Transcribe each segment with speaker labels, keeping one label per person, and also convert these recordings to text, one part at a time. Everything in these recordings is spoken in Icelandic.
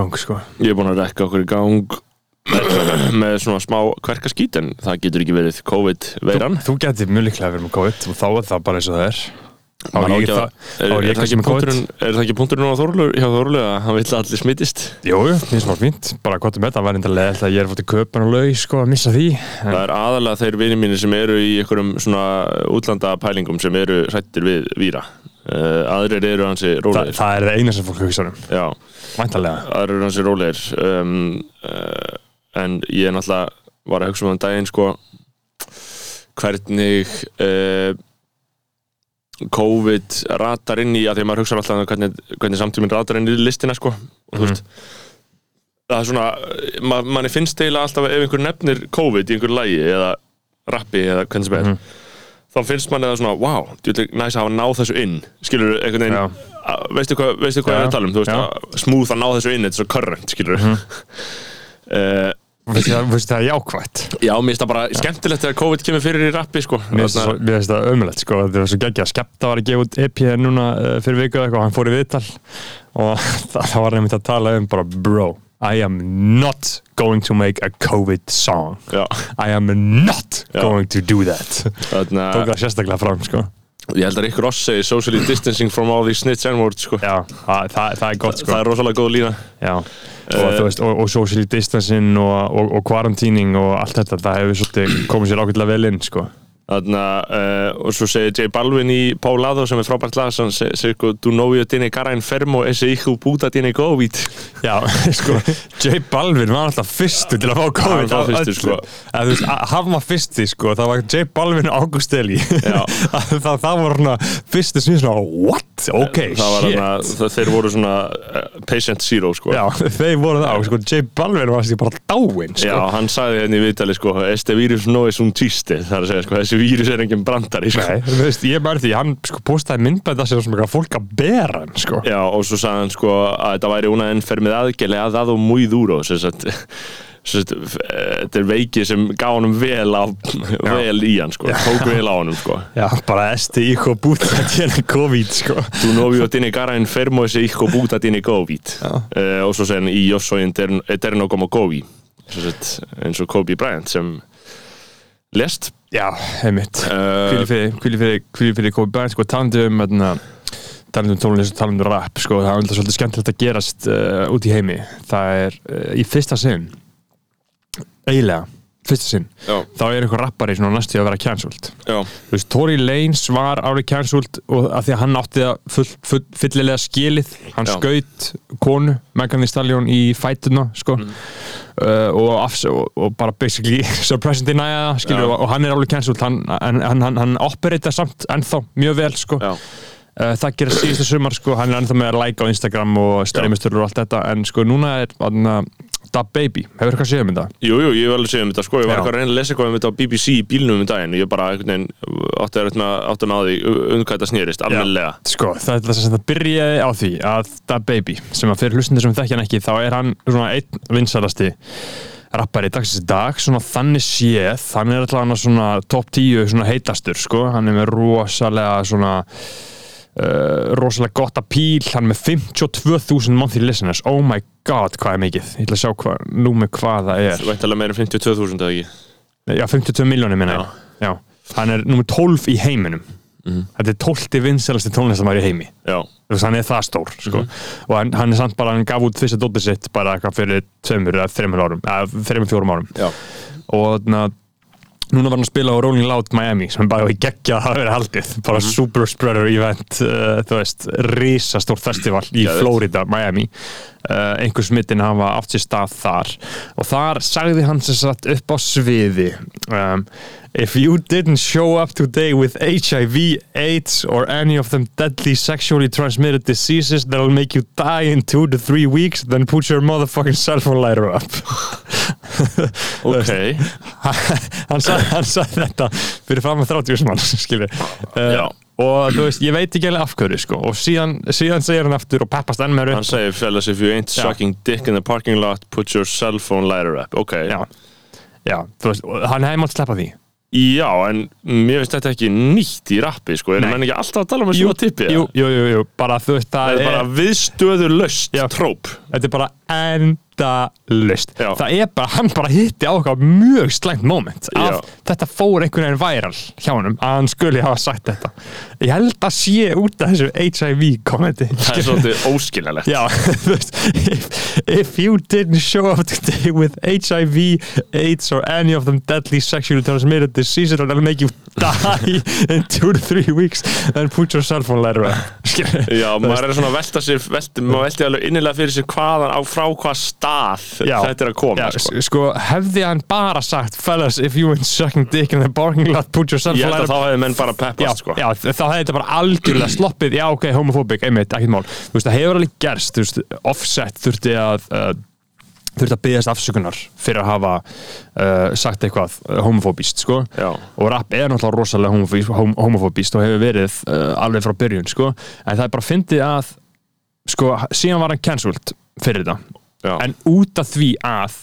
Speaker 1: gang sko
Speaker 2: Ég er búin að rekka okkur í gang með svona smá kverkaskít en það getur ekki verið COVID-veiran
Speaker 1: Þú geti mjög líklega verið með COVID og þá er það bara eins og það er Þá
Speaker 2: Á
Speaker 1: er
Speaker 2: ég
Speaker 1: ég
Speaker 2: ekki-
Speaker 1: það
Speaker 2: Er,
Speaker 1: þá er ég
Speaker 2: er, það
Speaker 1: kannski
Speaker 2: ekki
Speaker 1: með COVID.
Speaker 2: punkturinn- er það ekki punkturinn á Þorlur, hjá Þorlur að hann vill að allir smittist?
Speaker 1: Jújú, það er smá fínt, bara gott um þetta Það var enda leðilt að ég er fótt í köpun og laug sko að missa því en,
Speaker 2: Það er aðalega þeir vinið mínir sem eru í einhverjum svona útlanda pælingum sem eru hrættir við víra. Uh, aðrir eru hansi
Speaker 1: það,
Speaker 2: rólegir.
Speaker 1: það er það eina sem fólk hugsa um
Speaker 2: Já,
Speaker 1: Væntalega
Speaker 2: aðrir eru hansi rólegir. Um, uh, en ég náttúrulega var að hugsa um þann daginn sko hvernig uh, COVID ratar inn í að því að maður hugsa alltaf um hvernig, hvernig samtíminn ratar inn í listina sko.
Speaker 1: Mhm.
Speaker 2: Og þú veist, það er svona, ma manni finnst eiginlega alltaf ef einhver nefnir COVID í einhver lægi eða rappi eða hvernig sem er
Speaker 1: Mhm.
Speaker 2: þá finnst manni það svona, wow, djúlega næs að hafa náð þessu inn skilur þú
Speaker 1: Já.
Speaker 2: einhvern veginn að- veistu hvað, veistu hvað
Speaker 1: Já,
Speaker 2: ég er að tala um, þú veist
Speaker 1: já. Mhm.
Speaker 2: að smúð að ná þessu inn, þetta er svo current skilur mm
Speaker 1: Þú veist það- þú veist það er jákvætt
Speaker 2: já, mér finnst það bara skemmtilegt þegar COVID kemur fyrir í rappi sko.
Speaker 1: Mér finnst svo- mér finnst það ömulegt sko, það var svo geggja að skepta var að gefa út EP núna uh, fyrir viku eða eitthvað, hann fór í viðtal og það var nefnt að tala um bara bro, I am not going to make a COVID song
Speaker 2: já,
Speaker 1: I am not
Speaker 2: Já.
Speaker 1: going to do that
Speaker 2: þarna,
Speaker 1: Tók það sérstaklega fram sko
Speaker 2: ég held að Rick Ross segi socially distancing from all these snitch and words sko.
Speaker 1: Já, það, það, það er gott sko
Speaker 2: það er rosalega góð lína
Speaker 1: Já, og, þú veist, og, og social distancing og, og, og quarantining og allt þetta, það hefur svolítið komið sér ákveðlega vel inn sko
Speaker 2: Þarna, uh, og svo segir J Balvin í Paulado sem er frábært lag sem se- segir sko, du know you tiene cara enfermo ese hijo puta tiene COVID
Speaker 1: Já, sko, J Balvin var alltaf fyrstu til að fá COVID
Speaker 2: Hann var
Speaker 1: af
Speaker 2: fyrstur, sko.
Speaker 1: öllum. Eða, þú veist, að- Hann var fyrsti, sko, það var J Balvin og August Eli
Speaker 2: Já.
Speaker 1: það, það, það var svona fyrstu sem ég svona, what? Ok,
Speaker 2: það var
Speaker 1: shit
Speaker 2: hana, það, þeir voru svona uh, patient zero sko
Speaker 1: Já, þeir voru þá, sko, J Balvin var þessi bara dáinn, sko
Speaker 2: Já, hann sagði hérna í viðtali sko Este virus no es un chiste Það er að segja sko, þessi vírus er engin brandari sko.
Speaker 1: Nei, þú veist, ég mæri því, hann sko postaði myndbæta sér sem eitthvað fólk að bera hann, sko
Speaker 2: Já, og svo sagði hann sko að þetta væri una enfermið aðgæli að það og múi dúró sem sagt sem sagt, f- eh, Þetta er veiki sem gá honum vel, á, vel í hann sko, tók vel á honum sko
Speaker 1: Já, bara esti í hvað búið að tjena COVID, sko
Speaker 2: Tú no vio tiene cara enfermo ese hijo puta tiene COVID uh, og svo segir hann í yo soy eterno, eterno como Kobe Svo sett, eins og Kobe Bryant sem lest
Speaker 1: Já, heimitt
Speaker 2: uh,
Speaker 1: Hvíli fyrir, hvíli fyrir, hvíli fyrir Kobe Bryant sko, talandi um þarna, talandi um tónlist og talandi um rap sko, það er alltaf svolítið skemmtilegt að gerast uh, út í heimi það er uh, í fyrsta sinn eiginlega, fyrsta sinn
Speaker 2: já,
Speaker 1: þá er einhver rappari svona næstu í að vera cancelled
Speaker 2: já,
Speaker 1: þú veist, Tory Lanez var árið cancelled og að því að hann átti það full, full, fyllilega skilið, hann
Speaker 2: Já.
Speaker 1: skaut konu, Megan Thee Stallion í fætuna, sko
Speaker 2: Mm.
Speaker 1: uh, og, afs, og, og bara basically surprise and deny það, skilur,
Speaker 2: Já.
Speaker 1: og, og hann er alveg cancelled, hann, hann, hann, hann, hann operita samt ennþá mjög vel, sko
Speaker 2: já,
Speaker 1: uh, það gerir síðustu sumar, sko, hann er ennþá með að like á Instagram og streymisturur og allt þetta en sko, núna er anna, Da Baby, hefur eitthvað séð um þetta?
Speaker 2: Jú, jú, ég hef alveg segja um þetta sko, ég var
Speaker 1: Já.
Speaker 2: eitthvað að reyna að lesa eitthvað um þetta á BBC í bílnum um daginn og ég bara einhvern veginn átti að reyna átti að ná því um hvað þetta snýrist, almennilega
Speaker 1: Sko, það, það, það byrjaði á því að Da Baby, sem að fyrir hlustundir sem þekkja hann ekki, þá er hann svona einn vinsalasti rappari dagsins í dag, svona þannig séð, hann er allavega svona top 10 svona heitastur, sko, hann er með rosalega svona uh, rosalega gott apíl, hann er með 52.000 monthly listeners, oh my god, hvað er mikið, ég ætla að sjá hvað, númi hvað það er,
Speaker 2: Væntalega meira en 52.000 eða ekki
Speaker 1: já, 52 miljónir minna, já. já, hann er númer 12 í heiminum, þetta er 12. vinsalasti tónlistamæri í heimi
Speaker 2: Já,
Speaker 1: þú veist, hann er það stór sko. og hann, hann er samt bara, hann gaf út fyrsta dóttir sitt bara eitthvað fyrir tveimur eða þreimur árum eða þreimur fjórum árum
Speaker 2: já,
Speaker 1: og na, núna var hann að spila á Rolling Loud Miami sem bara við geggja að hafa verið haldið bara
Speaker 2: Mhm.
Speaker 1: super spreader event uh, þú veist, risastór festival í
Speaker 2: Geðveikt.
Speaker 1: Florida, Miami uh, einhver smittin hafa átt sér stað þar og þar sagði hann sem satt upp á sviði um, If you didn't show up today with HIV, AIDS or any of them deadly sexually transmitted diseases that'll make you die in two to three weeks then put your motherfucking cell phone lighter up
Speaker 2: ok
Speaker 1: hann, sag, hann sagði þetta fyrir fram að 30 mann skilur
Speaker 2: Já.
Speaker 1: uh, og þú veist, ég veit ekki alveg af hverju sko. og síðan, síðan segir hann aftur og peppast enn meir
Speaker 2: Hann
Speaker 1: upp
Speaker 2: segir fellas if you ain't
Speaker 1: Já.
Speaker 2: sucking dick in the parking lot put your cell phone lighter up Ok,
Speaker 1: já, já, þú veist, og hann hefði mátt sleppa því
Speaker 2: Já, en mér finnst þetta ekki nýtt í rappi, sko. En
Speaker 1: Nei.
Speaker 2: menn ekki alltaf að tala um að svona tippi.
Speaker 1: jú, jú, jú, jú, bara þú veist
Speaker 2: Það er bara viðstöðurlaust
Speaker 1: Eh. Já.
Speaker 2: tróp.
Speaker 1: þetta er bara endalust
Speaker 2: Já.
Speaker 1: það er bara, hann bara hitti á okkar mjög slæmt moment að
Speaker 2: Já.
Speaker 1: þetta fór einhvern veginn væral hjá honum að hann skuli hafa sagt þetta ég held að sé út af þessu HIV kommenti
Speaker 2: það er svolítið óskiljalegt
Speaker 1: Já, þú veist if, if you didn't show up today with HIV, AIDS or any of them deadly sexually transmitted diseases that'll make you die in two to three weeks then put your cell phone letter up
Speaker 2: Já, maður er svona að velta sér, velti, maður velti alveg innilega fyrir sér hvaðan á frá hvað stað
Speaker 1: Já.
Speaker 2: þetta er að koma,
Speaker 1: Já,
Speaker 2: sko.
Speaker 1: sko. hefði hann bara sagt fellas, if you went sucking dick in the parking lot put your cell
Speaker 2: Ég
Speaker 1: phone letter
Speaker 2: held að
Speaker 1: up
Speaker 2: þá hefði menn bara
Speaker 1: já,
Speaker 2: peppast, sko.
Speaker 1: já, þá hefði þetta bara algjörlega sloppið já, ok, homofóbik, einmitt, ekkert mál þú veist, það hefur alveg gerst, þú veist, offset þurfti að uh, þurfti að byggast afsökunar fyrir að hafa uh, sagt eitthvað uh, homofóbist, sko
Speaker 2: Já.
Speaker 1: og rap er náttúrulega rosalega homofóbist, hom homofóbist og hefur verið uh, alveg frá byrjun, sko en það er bara fyndið að sko, síðan var hann cancelled fyrir þetta
Speaker 2: Já,
Speaker 1: en út af því að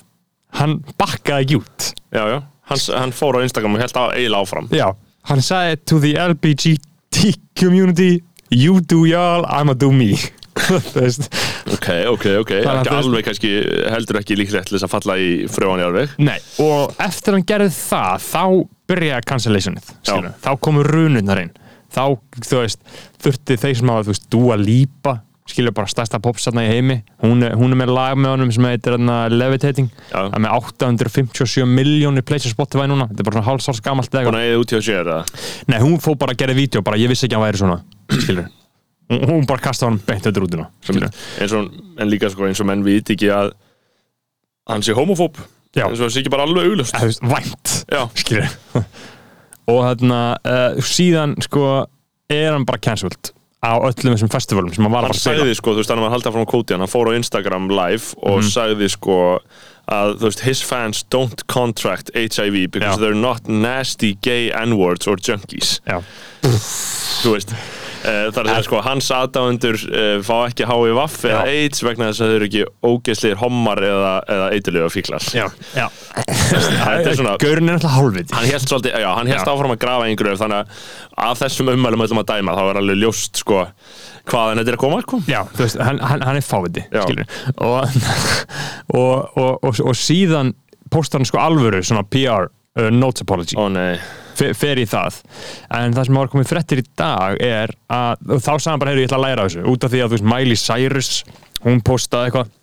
Speaker 1: hann bakkaði ekki út
Speaker 2: já, já. Hann, hann fór á Instagram og held að eiginlega áfram.
Speaker 1: Já, hann sagði to the LGBT community You do y'all, I'ma do me Þú veist
Speaker 2: Ok, ok, ok.
Speaker 1: Þannig að
Speaker 2: Ekki
Speaker 1: þú veist-
Speaker 2: alveg kannski, heldur ekki líklegt til þess að falla í frjóan í alveg.
Speaker 1: Nei, og eftir hann gerði það þá byrjaði cancellationið skilurðu. þá komu runurnar inn þá, þú veist, þurfti þeir sem hafa þú veist, Dua Lipa, skilja bara stærsta popsatna í heimi, hún er, hún er með lag með honum sem heitir hana, Levitating
Speaker 2: Já.
Speaker 1: það er með 857 miljónir plays á Spotify núna, þetta er bara svona hálfsárs gamalt eða eitthvað.
Speaker 2: Hún eða út hjá sér, eða?
Speaker 1: Nei, hún fó bara að gera vídeo, bara ég vissi ekki að hann væri svona skilur hún, hún bara kasta hann beint auðvitað rútuna skilur
Speaker 2: eins og, en líka sko eins og menn viti ekki að hann sé homofób
Speaker 1: Já.
Speaker 2: eins og það sé ekki bara alveg auglust
Speaker 1: þú veist, vænt
Speaker 2: já,
Speaker 1: skilur og þarna, uh, síðan sko er hann bara cancelled á öllum þessum festivalum sem hann var að
Speaker 2: hann
Speaker 1: bara spila
Speaker 2: sagði sko, þú veist, hann var að halda frá kóti hann fór á Instagram live og
Speaker 1: Mhm.
Speaker 2: sagði sko að, þú veist, his fans don't contract HIV
Speaker 1: Já.
Speaker 2: because they're not nasty gay n-words or junkies
Speaker 1: Já,
Speaker 2: þú veist Uh, þar að segja sko, hans aðdáendur uh, fá ekki HIV eða
Speaker 1: Já.
Speaker 2: AIDS vegna þess að þau eru ekki ógeðslir hommar eða, eða eitilega fíklar
Speaker 1: já, já
Speaker 2: Þetta er svona
Speaker 1: Gaurin er alltaf hálfviti
Speaker 2: hann held svolítið, já, hann held
Speaker 1: Já.
Speaker 2: áfram að grafa einhverju þannig að af þessum ummælum öllum að dæma þá er alveg ljóst sko hvaðan þetta er að koma sko.
Speaker 1: Já, þú veist, hann, hann, hann er fáviti
Speaker 2: Já.
Speaker 1: skilur og, og, og, og, og síðan postar hann sko alvöru svona PR uh, notes apology
Speaker 2: Ó nei,
Speaker 1: fe- fer í það en það sem var komið frettir í dag er að og þá sagði hann bara, heyrðu, ég ætla að læra af þessu út af því að þú veist, Miley Cyrus hún postaði eitthvað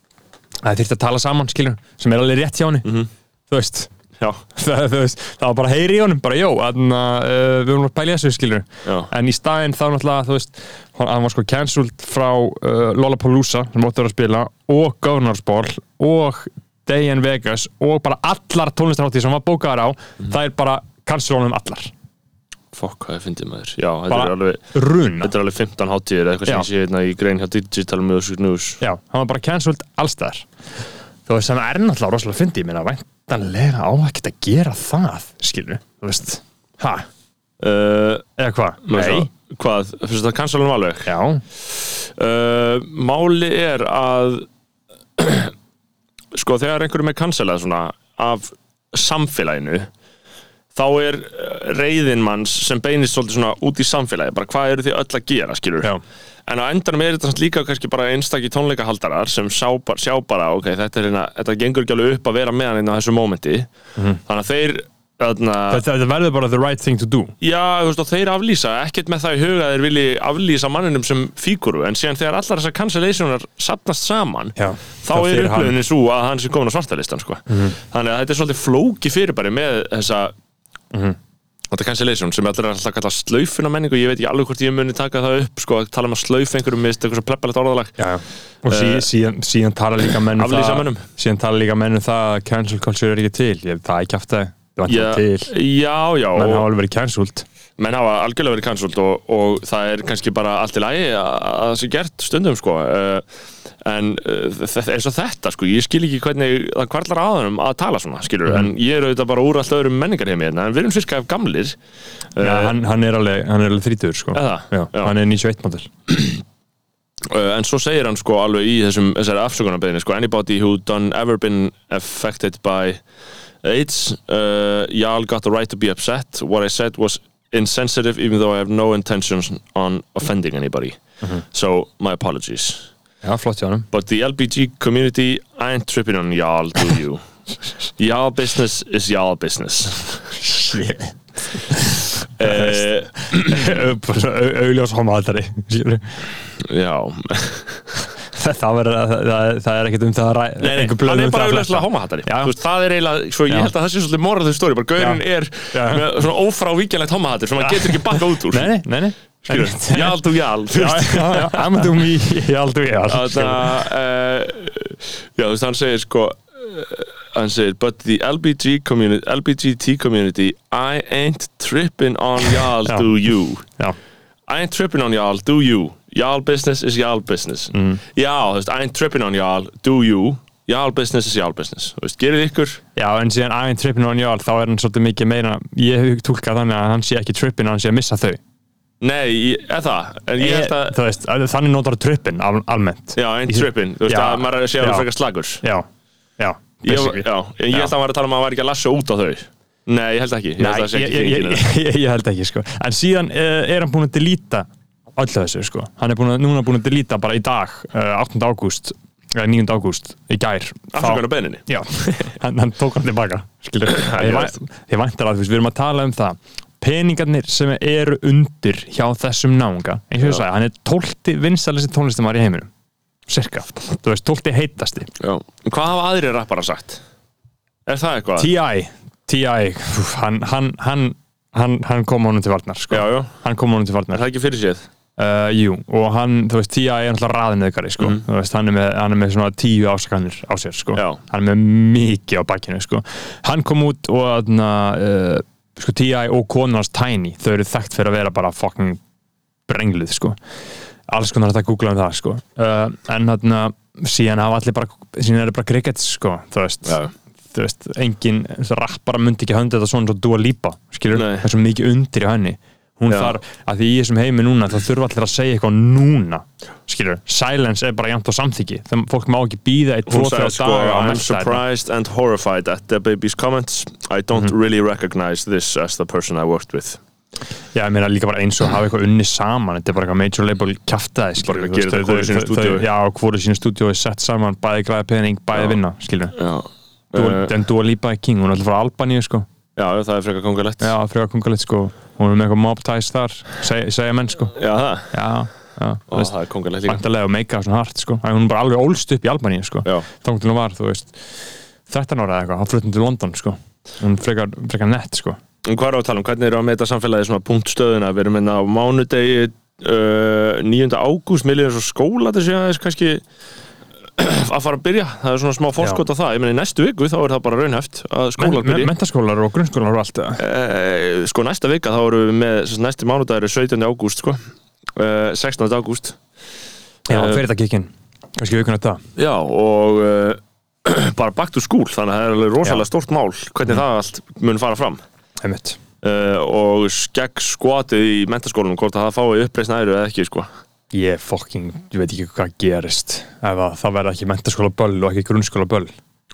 Speaker 1: að það þurfti að tala saman, skilur, sem er alveg rétt hjá henni þú veist,
Speaker 2: já,
Speaker 1: það, þú veist það var bara heyri í honum, bara jó þannig að uh, við vorum að pæla í þessu, skilur
Speaker 2: Já.
Speaker 1: en í staðinn þá náttúrulega, þú veist hann hann var sko cancelled frá uh, Lollapalooza sem óttu að vera að spila og Governorsball og Day in Vegas og bara allar tónlistarháttið sem hann var bókaðar á, það er bara cancel honum allar
Speaker 2: fokk hvað ég fyndi maður já, þetta
Speaker 1: Bara-
Speaker 2: er alveg
Speaker 1: runa
Speaker 2: þetta er alveg 15 hátíðir eða eitthvað sem
Speaker 1: Já.
Speaker 2: ég sé hérna í grein hjá Digital Music News
Speaker 1: Já, hann var bara cancelled allstæðar Þú veist, hann er náttúrulega rosalega fyndi Ég meina, væntanlega á ekkert að gera það Skilur, þú veist Ha,
Speaker 2: uh,
Speaker 1: eða hvað?
Speaker 2: Nei Hvað, finnst þetta kansalunum alveg?
Speaker 1: Já,
Speaker 2: Uh, máli er að sko þegar einhverjum er kansalað svona af samfélaginu þá er uh, reiðin manns sem beinist svolítið svona út í samfélagi bara hvað eru þið öll að gera skilur
Speaker 1: Já.
Speaker 2: en á endanum er þetta samt líka kannski bara einstakki tónleikahaldarar sem sjá, bara- sjá bara ok, þetta, er hérna, þetta gengur ekki alveg upp að vera með hann inn á þessu mómenti þannig að þeir þarna,
Speaker 1: þetta, þetta verður bara the right thing to do
Speaker 2: Já, þú veist, og þeir aflýsa, ekkert með það í huga að þeir vilji aflýsa manninum sem fíguru en síðan þegar allar þessar cancellationar sapnast saman,
Speaker 1: Já,
Speaker 2: þá
Speaker 1: þá fer
Speaker 2: er
Speaker 1: hann. Mhm.
Speaker 2: upplöðinni svo að hann sé komin á svartalistan sko. þannig að þetta er svolítið flóki fyrirbæri með þessa
Speaker 1: Mhm.
Speaker 2: þetta cancellation sem allir er alltaf að kalla slaufuna menningu, ég veit ekki alveg hvort ég muni taka það upp sko, að tala um að slaufa einhverjum með eitthvað svo pleppalegt orðalag
Speaker 1: Já, Eh, og sí, síðan, síðan tala líka menn um
Speaker 2: Aflýsa
Speaker 1: það-
Speaker 2: mönnum.
Speaker 1: Síðan tala líka menn um það að cancel culture er ekki til Ég, það er ekki aftur Það var
Speaker 2: Já,
Speaker 1: ekki til
Speaker 2: já, já
Speaker 1: Menn hafa alveg verið cancelled
Speaker 2: menn hafa algjörlega verið cancelled og, og það er kannski bara allt í lagi að að það sé gert stundum sko uh, en uh, þe- eins og þetta sko, ég skil ekki hvernig það kvarlar aðanum að tala svona skilur, en ég er auðvitað bara úr alltaf öðrum menningarheimi hérna, en við erum fyrst af gamlir
Speaker 1: Já, hann, hann er alveg, hann er alveg 30 sko
Speaker 2: Eða?
Speaker 1: Eh. Já,
Speaker 2: Já.
Speaker 1: hann er 91 model
Speaker 2: Uh, en svo segir hann sko alveg í þessum, þessari afsökunarbeðinni sko anybody who done ever been affected by AIDS uh, y'all got the right to be upset what I said was insensitive even though I have no intentions on offending anybody so my apologies
Speaker 1: Já, flott hjá hann
Speaker 2: But the LBG community ain't tripping on y'all, do you? y'all business is y'all business.
Speaker 1: Shit
Speaker 2: Eh,
Speaker 1: Augljós homaðari
Speaker 2: já.
Speaker 1: Það verður að- það- það er ekkert um það að ræða
Speaker 2: Nei, nei, hann
Speaker 1: um
Speaker 2: er bara auðvitað homahattari.
Speaker 1: Já.
Speaker 2: Þú veist, það er eiginlega, svo
Speaker 1: Já.
Speaker 2: ég held að það sé svolítið morað þau stóri, bara gaurinn
Speaker 1: Já.
Speaker 2: er
Speaker 1: Já.
Speaker 2: með svona ófrávíkjanlegt homahattur sem hann getur ekki bakka út úr.
Speaker 1: Nei, nei, nei, nei.
Speaker 2: Skilur, jál, þú jál, þú
Speaker 1: Já,
Speaker 2: veist.
Speaker 1: já, já, amdum í Jaldum í
Speaker 2: Þarna, uh, já, þú veist, hann segir sko eh, hann segir, but the LBG community, LBGT community I ain't tripping on y'all
Speaker 1: Já.
Speaker 2: do you
Speaker 1: Já,
Speaker 2: I ain't tripping on y'all, do you y'all business is y'all business
Speaker 1: Mm.
Speaker 2: já, þú veist, I ain't tripping on y'all, do you y'all business is y'all business þú veist, gerið ykkur
Speaker 1: já, en síðan aðeins trippin on Jald þá er hann svolítið mikið meira ég hef túlkað þannig að hann sé ekki trippin hann sé að missa þau
Speaker 2: nei, ég- eða það, en ég held að
Speaker 1: Þú veist, að- þannig notar trippin al, almennt
Speaker 2: já, I ain't tripping, þú veist,
Speaker 1: Já.
Speaker 2: að maður sé að
Speaker 1: Já.
Speaker 2: vera frekar slagur
Speaker 1: já, já,
Speaker 2: ég, já,
Speaker 1: basically.
Speaker 2: en ég
Speaker 1: Já.
Speaker 2: held að hann var að tala um að hann var ekki að lassa út á þau nei, ég held ekki, ég held
Speaker 1: Nei,
Speaker 2: að það sé
Speaker 1: ég,
Speaker 2: ekki
Speaker 1: ég,
Speaker 2: gengið
Speaker 1: ég,
Speaker 2: neitt.
Speaker 1: ég, ég held ekki sko. en síðan uh, er hann búin að delita öllu þessu sko. hann er búin að, núna búin að delita bara í dag uh, 8. ágúst, eða 9. ágúst í gær
Speaker 2: afsökunar beninni
Speaker 1: Já, hann, hann tók hann tilbaka skilur,
Speaker 2: Já,
Speaker 1: ég,
Speaker 2: já.
Speaker 1: vænt- ég væntar að þú veist, við erum að tala um það peningarnir sem eru undir hjá þessum náunga, eins og ég
Speaker 2: Já.
Speaker 1: sagði, hann er 12. vinsalisti tónlistamæri í heiminum cirka, þú veist, 12. heitasti
Speaker 2: hvað hafa aðrir rappara sagt? er það eitthvað?
Speaker 1: T.I. T.I. úff, hann, hann, hann, hann, hann kom honum til varnar sko.
Speaker 2: já, já,
Speaker 1: hann kom honum til
Speaker 2: er
Speaker 1: varnar
Speaker 2: það ekki fyrir séð?
Speaker 1: uh, jú, og hann, þú veist, T.I. er náttúrulega raðinöðgari, sko, þú veist, hann er með, hann er með svona tíu ásakanir á sér, sko
Speaker 2: Mhm. Já.
Speaker 1: hann er með mikið á bakkinu, sko hann kom út og, þarna uh, sko, T.I. og konars Tiny þau eru þekkt fyrir að vera bara fucking brengluð, sko alls konar hægt að googla um það, sko uh, en þarna, síðan hafa allir bara síðan er það bara crickets, sko, þú veist
Speaker 2: Já.
Speaker 1: þú veist, engin rappara myndi ekki höndi þetta svona svo dúa lípa skilur,
Speaker 2: Nei.
Speaker 1: það er svo mikið undir í henni hún
Speaker 2: Já.
Speaker 1: þarf, að því í þessum heimi núna þá þurfa allir að segja eitthvað núna skilur, silence er bara jæmt á samþyggi þannig fólk má ekki býða eitt
Speaker 2: hún
Speaker 1: tvo
Speaker 2: sagði
Speaker 1: þegar
Speaker 2: sko
Speaker 1: daga að
Speaker 2: I'm
Speaker 1: melta þetta
Speaker 2: surprised and horrified at the baby's comments I don't
Speaker 1: Mhm.
Speaker 2: really recognize this as the person I worked with
Speaker 1: já, ég meina líka bara eins og hafa eitthvað unni saman þetta er bara eitthvað major label kjaftaði skilur,
Speaker 2: Bara að gera þetta hvor í sínu stúdíói.
Speaker 1: já, hvori sínu stúdíu er sett saman, bæði græða pening, bæði
Speaker 2: Já.
Speaker 1: vinna skilur,
Speaker 2: já,
Speaker 1: Dua-
Speaker 2: Eh,
Speaker 1: en dúa lípa er king hún er alltaf frá Albaníu sko
Speaker 2: já það er frekar kongalett
Speaker 1: já, frá Kungalit sko, hún er með eitthvað mob ties þar, seg, segja menn sko
Speaker 2: já það,
Speaker 1: já, já,
Speaker 2: Ó, það er kongalett líka
Speaker 1: vantarlega að meika svona hart sko. Æ, hún er bara alveg ólst upp í Albaníu sko.
Speaker 2: já,
Speaker 1: þá til hún var, þú veist 13 ára eða eitthvað, hann fluttin til London sko. hún er frekar, frekar nett sko.
Speaker 2: en hvað er á að tala um? hvernig eru að meta samfélagi svona punktstöðuna við erum enna á mánudegi uh, 9. ágúst, mér líður svo skóla þetta sé aðeins kannski eh, að fara að byrja, það er svona smá fórskot á það ég meni næstu viku þá er það bara raunhæft að skólar
Speaker 1: Men,
Speaker 2: byrja
Speaker 1: mentaskólar og grunnskólar og allt eða?
Speaker 2: Eh, sko næsta vika þá erum við með sem sagt, næsti mánudagur er 17. ágúst sko uh, 16. ágúst
Speaker 1: já,
Speaker 2: Eh,
Speaker 1: fyrir þetta kikkin kannski vikun þetta
Speaker 2: já og uh, bara back to school þannig að það er alveg rosalega stórt mál hvernig það allt mun fara fram
Speaker 1: einmitt.
Speaker 2: uh, og skegg skvatið í mentaskólanum hvort að það fái uppreisn æru eða ekki sko
Speaker 1: ég fucking, ég veit ekki hvað gerist ef að það verða ekki mentaskóla böll og ekki grunnskóla böll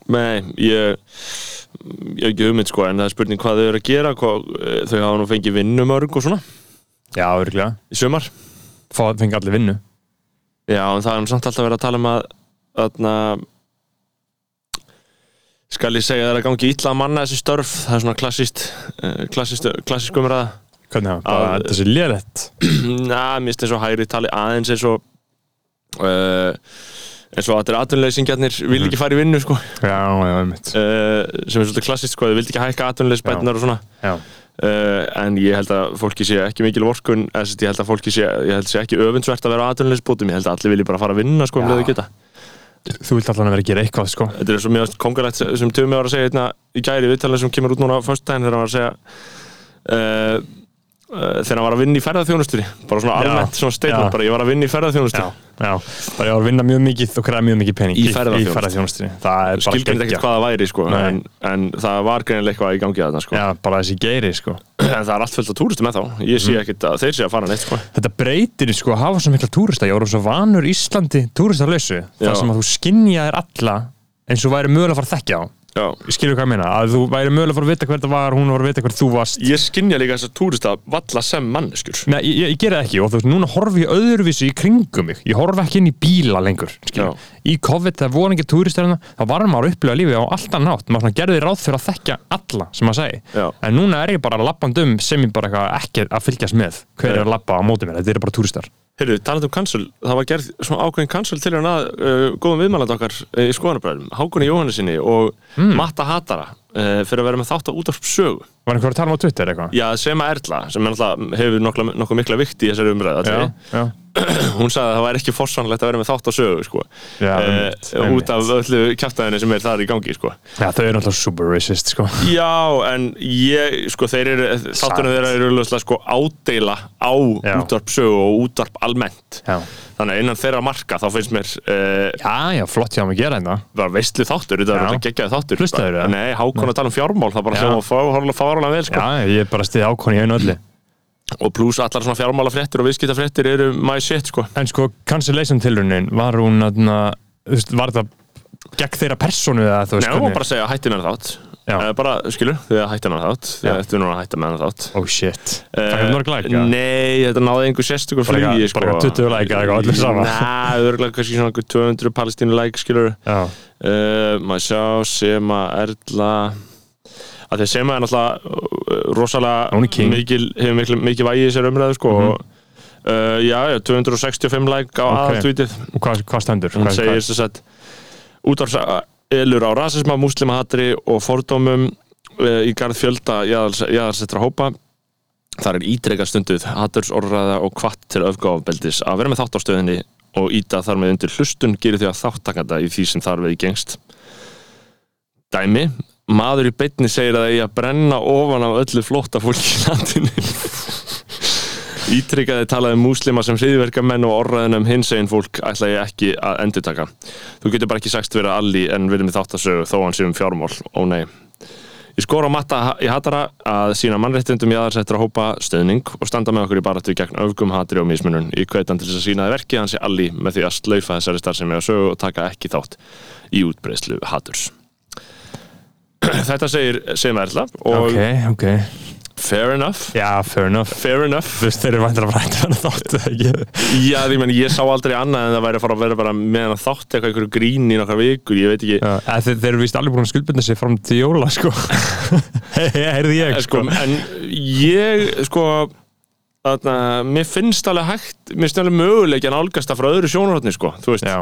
Speaker 2: Nei, ég ég hef ekki hugmynd sko en það er spurning hvað þau eru að gera hvað, eh, þau hafa nú fengið vinnumörg og svona
Speaker 1: já, örgulega,
Speaker 2: í sumar
Speaker 1: fengi allir vinnu
Speaker 2: Já, en það er nú samt alltaf verið að tala um að þarna skal ég segja þér að gangi illa að manna þessi störf, það er svona klassist eh, klassist, klassisk umræða
Speaker 1: hvernig það, bara
Speaker 2: Að-
Speaker 1: þetta sé lélegt
Speaker 2: Na, mér finnst eins og hægri tali aðeins eins og uh, eins og allir atvinnuleysingjarnir vil ekki fara í vinnu sko, uh,
Speaker 1: já, já, einmitt
Speaker 2: sem er svolítið klassist sko, þau vildi ekki hækka atvinnuleysbætnar og svona
Speaker 1: já,
Speaker 2: uh, en ég held að fólki sé ekki mikil vorkun, eða sem sagt, ég held að fólki sé, ég held sé ekki öfundsvert að vera atvinnuleysbótum, ég held að allir vilji bara fara að vinna sko,
Speaker 1: Já.
Speaker 2: um leið og geta
Speaker 1: þú vilt allan að vera að gera eitthvað sko.
Speaker 2: Þetta er svo mjög kongalegt sem Tumi var að segja hérna í gæri viðtalið sem kemur út núna á föstudaginn þegar hann var að segja uh, uh, þegar hann var að vinna í ferðarþjónustunni bara svona
Speaker 1: Já.
Speaker 2: almennt svona
Speaker 1: Já.
Speaker 2: statement bara ég var að vinna í
Speaker 1: Já,
Speaker 2: ferðarþjónustunni
Speaker 1: já, bara ég var að vinna mjög mikið og krefa mjög mikið pening
Speaker 2: Í ferðaþjónustu.
Speaker 1: í ferðaþjónustunni. Það er bara
Speaker 2: skilgjandi ekkert hvað það væri sko
Speaker 1: Nei.
Speaker 2: en, en það var greinilega eitthvað í gangi að það sko
Speaker 1: Já, bara þessi geiri sko.
Speaker 2: en það er allt fullt af túristum eða þá ég sé ekkert að þeir sé að fara neitt sko
Speaker 1: Þetta breytir sko að hafa svo mikla túrista Ég voru svo vanur Íslandi túristalösu
Speaker 2: Já.
Speaker 1: þar sem að þú skinjaðir alla eins og væri mögulega að fara að þekkja á
Speaker 2: já.
Speaker 1: skilur hvað ég meina, að þú væri mögulega að fara að vita hver það var, hún var að vita hver þú varst
Speaker 2: Ég skynja líka þess að túrista valla sem manneskjur
Speaker 1: Nei, ég, ég gera það ekki og þú veist, núna horfi ég öðruvísi í kringum mig ég horfi ekki inn í bíla lengur skilur. í COVID, það voru ekki túristörna þá var maður að upplifa lífið á alltaf nátt maður svona gerði ráð fyrir að þekkja alla sem maður segi,
Speaker 2: Já.
Speaker 1: en núna er ég bara lappand um sem ég bara eitthvað ekki að fylgjast með hver er að lappa á móti mér, þetta eru bara túristar
Speaker 2: Heyrðu, talandi um cancel, það var gerð svona ákveðin cancel til hérna uh, góðum viðmælandi okkar uh, í skoðanabræðum, Hákunni Jóhannesinni og Matta Hatara uh, fyrir að vera með þátt á útvarp sögu
Speaker 1: Var einhver að tala um á Twitter eitthvað?
Speaker 2: Já, sem að Erla, sem er náttúrulega hefur nokkuð, nokkuð mikla vikt í þessari umræðu allri.
Speaker 1: já,
Speaker 2: hún sagði að það væri ekki forsvanlegt að vera með þátt á sögu sko.
Speaker 1: Já,
Speaker 2: Eh,
Speaker 1: einmitt, einmitt.
Speaker 2: út af öllu kjaftaðinu sem er þar í gangi sko.
Speaker 1: já þau eru náttúrulega super racist sko.
Speaker 2: Já, en ég, sko, þeir eru þáttunum þeirra eru auðvitað sko ádeila á
Speaker 1: Já.
Speaker 2: útvarp sögu og útvarp almennt
Speaker 1: Já,
Speaker 2: þannig að innan þeirra marka þá finnst mér uh,
Speaker 1: já, já flott hjá mig að gera þetta
Speaker 2: bara veistlu þáttur, þetta
Speaker 1: Já.
Speaker 2: er alltaf geggjaði þáttur
Speaker 1: Hlustaðirðu það?
Speaker 2: Nei, hákon að tala um fjármál það bara
Speaker 1: Já.
Speaker 2: hljóma fárlega fárlega vel sko.
Speaker 1: Já, ég er bara stiði ákvæmni í einu öllu
Speaker 2: og pluss allar svona fjármálafréttir og viðskiptafréttir eru my shit sko.
Speaker 1: En sko, cancellation tilunin var hún aðna, þú veist, var það gegn þeirra persónu eða þú
Speaker 2: Nei,
Speaker 1: veist
Speaker 2: hún var bara að segja hættin er þátt
Speaker 1: Já.
Speaker 2: Eh, bara, skilur, þið hættin er þátt þið
Speaker 1: Já.
Speaker 2: ættu núna að hætta með hann þátt
Speaker 1: Oh shit, það
Speaker 2: Eh,
Speaker 1: er mörg læka
Speaker 2: Nei, þetta náði einhver sérstökum
Speaker 1: Bara eitthvað-
Speaker 2: flugi sko.
Speaker 1: bara eitthvað 20 like eða eitthvað, öllu sama.
Speaker 2: Nei, örgulega kannski svona einhver 200 palestínu like skilur
Speaker 1: Já,
Speaker 2: uh, Maður sjá, Sema, Erla að þegar Sema er náttúrulega uh,
Speaker 1: Hún er
Speaker 2: rosalega
Speaker 1: king. Mhm.
Speaker 2: mikil, hefur mikil, mikil vægi í þessar umræðu sko, mm já, já, 265 like á okay.
Speaker 1: Ok.
Speaker 2: aðaltvítið
Speaker 1: og hvað, hvað stendur?
Speaker 2: hún
Speaker 1: Hvað-
Speaker 2: segir þess að útvarpselur á rasisma, múslimahatri og fordómum uh, í garð fjölda jaðarsettra hópa þar er ítrekka stunduð hatursorraða og kvatt til öfgáfbeldis að vera með þátt á stöðinni og íta þar með undir hlustun gerir því að þáttakanda í því sem þar við gengst dæmi maður í beinni segir að það eigi að brenna ofan af öllu flótta fólki í landinu Ítrykkaði talaði um múslima sem hriðverkamenn og orraðin um hinsegin fólk ætla ég ekki að endurtaka þú getur bara ekki sagst vera alli en verið með þáttasögu þó hann sé um fjármál, ó nei Ég skora á matta í hatara að sína mannréttindum jáðarsettra hópa stöðning og standa með okkur í baratu gegn öfgum hatri og mismunun. Ég kveita hann til þess að sína það verki hans í alli með því að slaufa þessari starfsemi á sögu og taka ekki þátt í útbreyslu haturs. Þetta segir sem erla og
Speaker 1: Ok, ok
Speaker 2: fair enough,
Speaker 1: Já, fair enough
Speaker 2: fair enough.
Speaker 1: Þú veist, þeir eru vantar að fræta hann þáttu ekki
Speaker 2: Já, því menn, ég sá aldrei annað en það væri að fara að vera bara með hann þátt eitthvað einhverju grín í nokkar vikur, ég veit ekki
Speaker 1: Já, eða þeir, þeir eru vist alveg búin að skuldbinda sig fram til jóla, sko Heyrði ég,
Speaker 2: en, sko,
Speaker 1: sko
Speaker 2: en ég, sko þarna, mér finnst alveg hægt mér finnst alveg möguleik en álgast það frá öðru sjónarhóttni, sko, þú veist
Speaker 1: Já,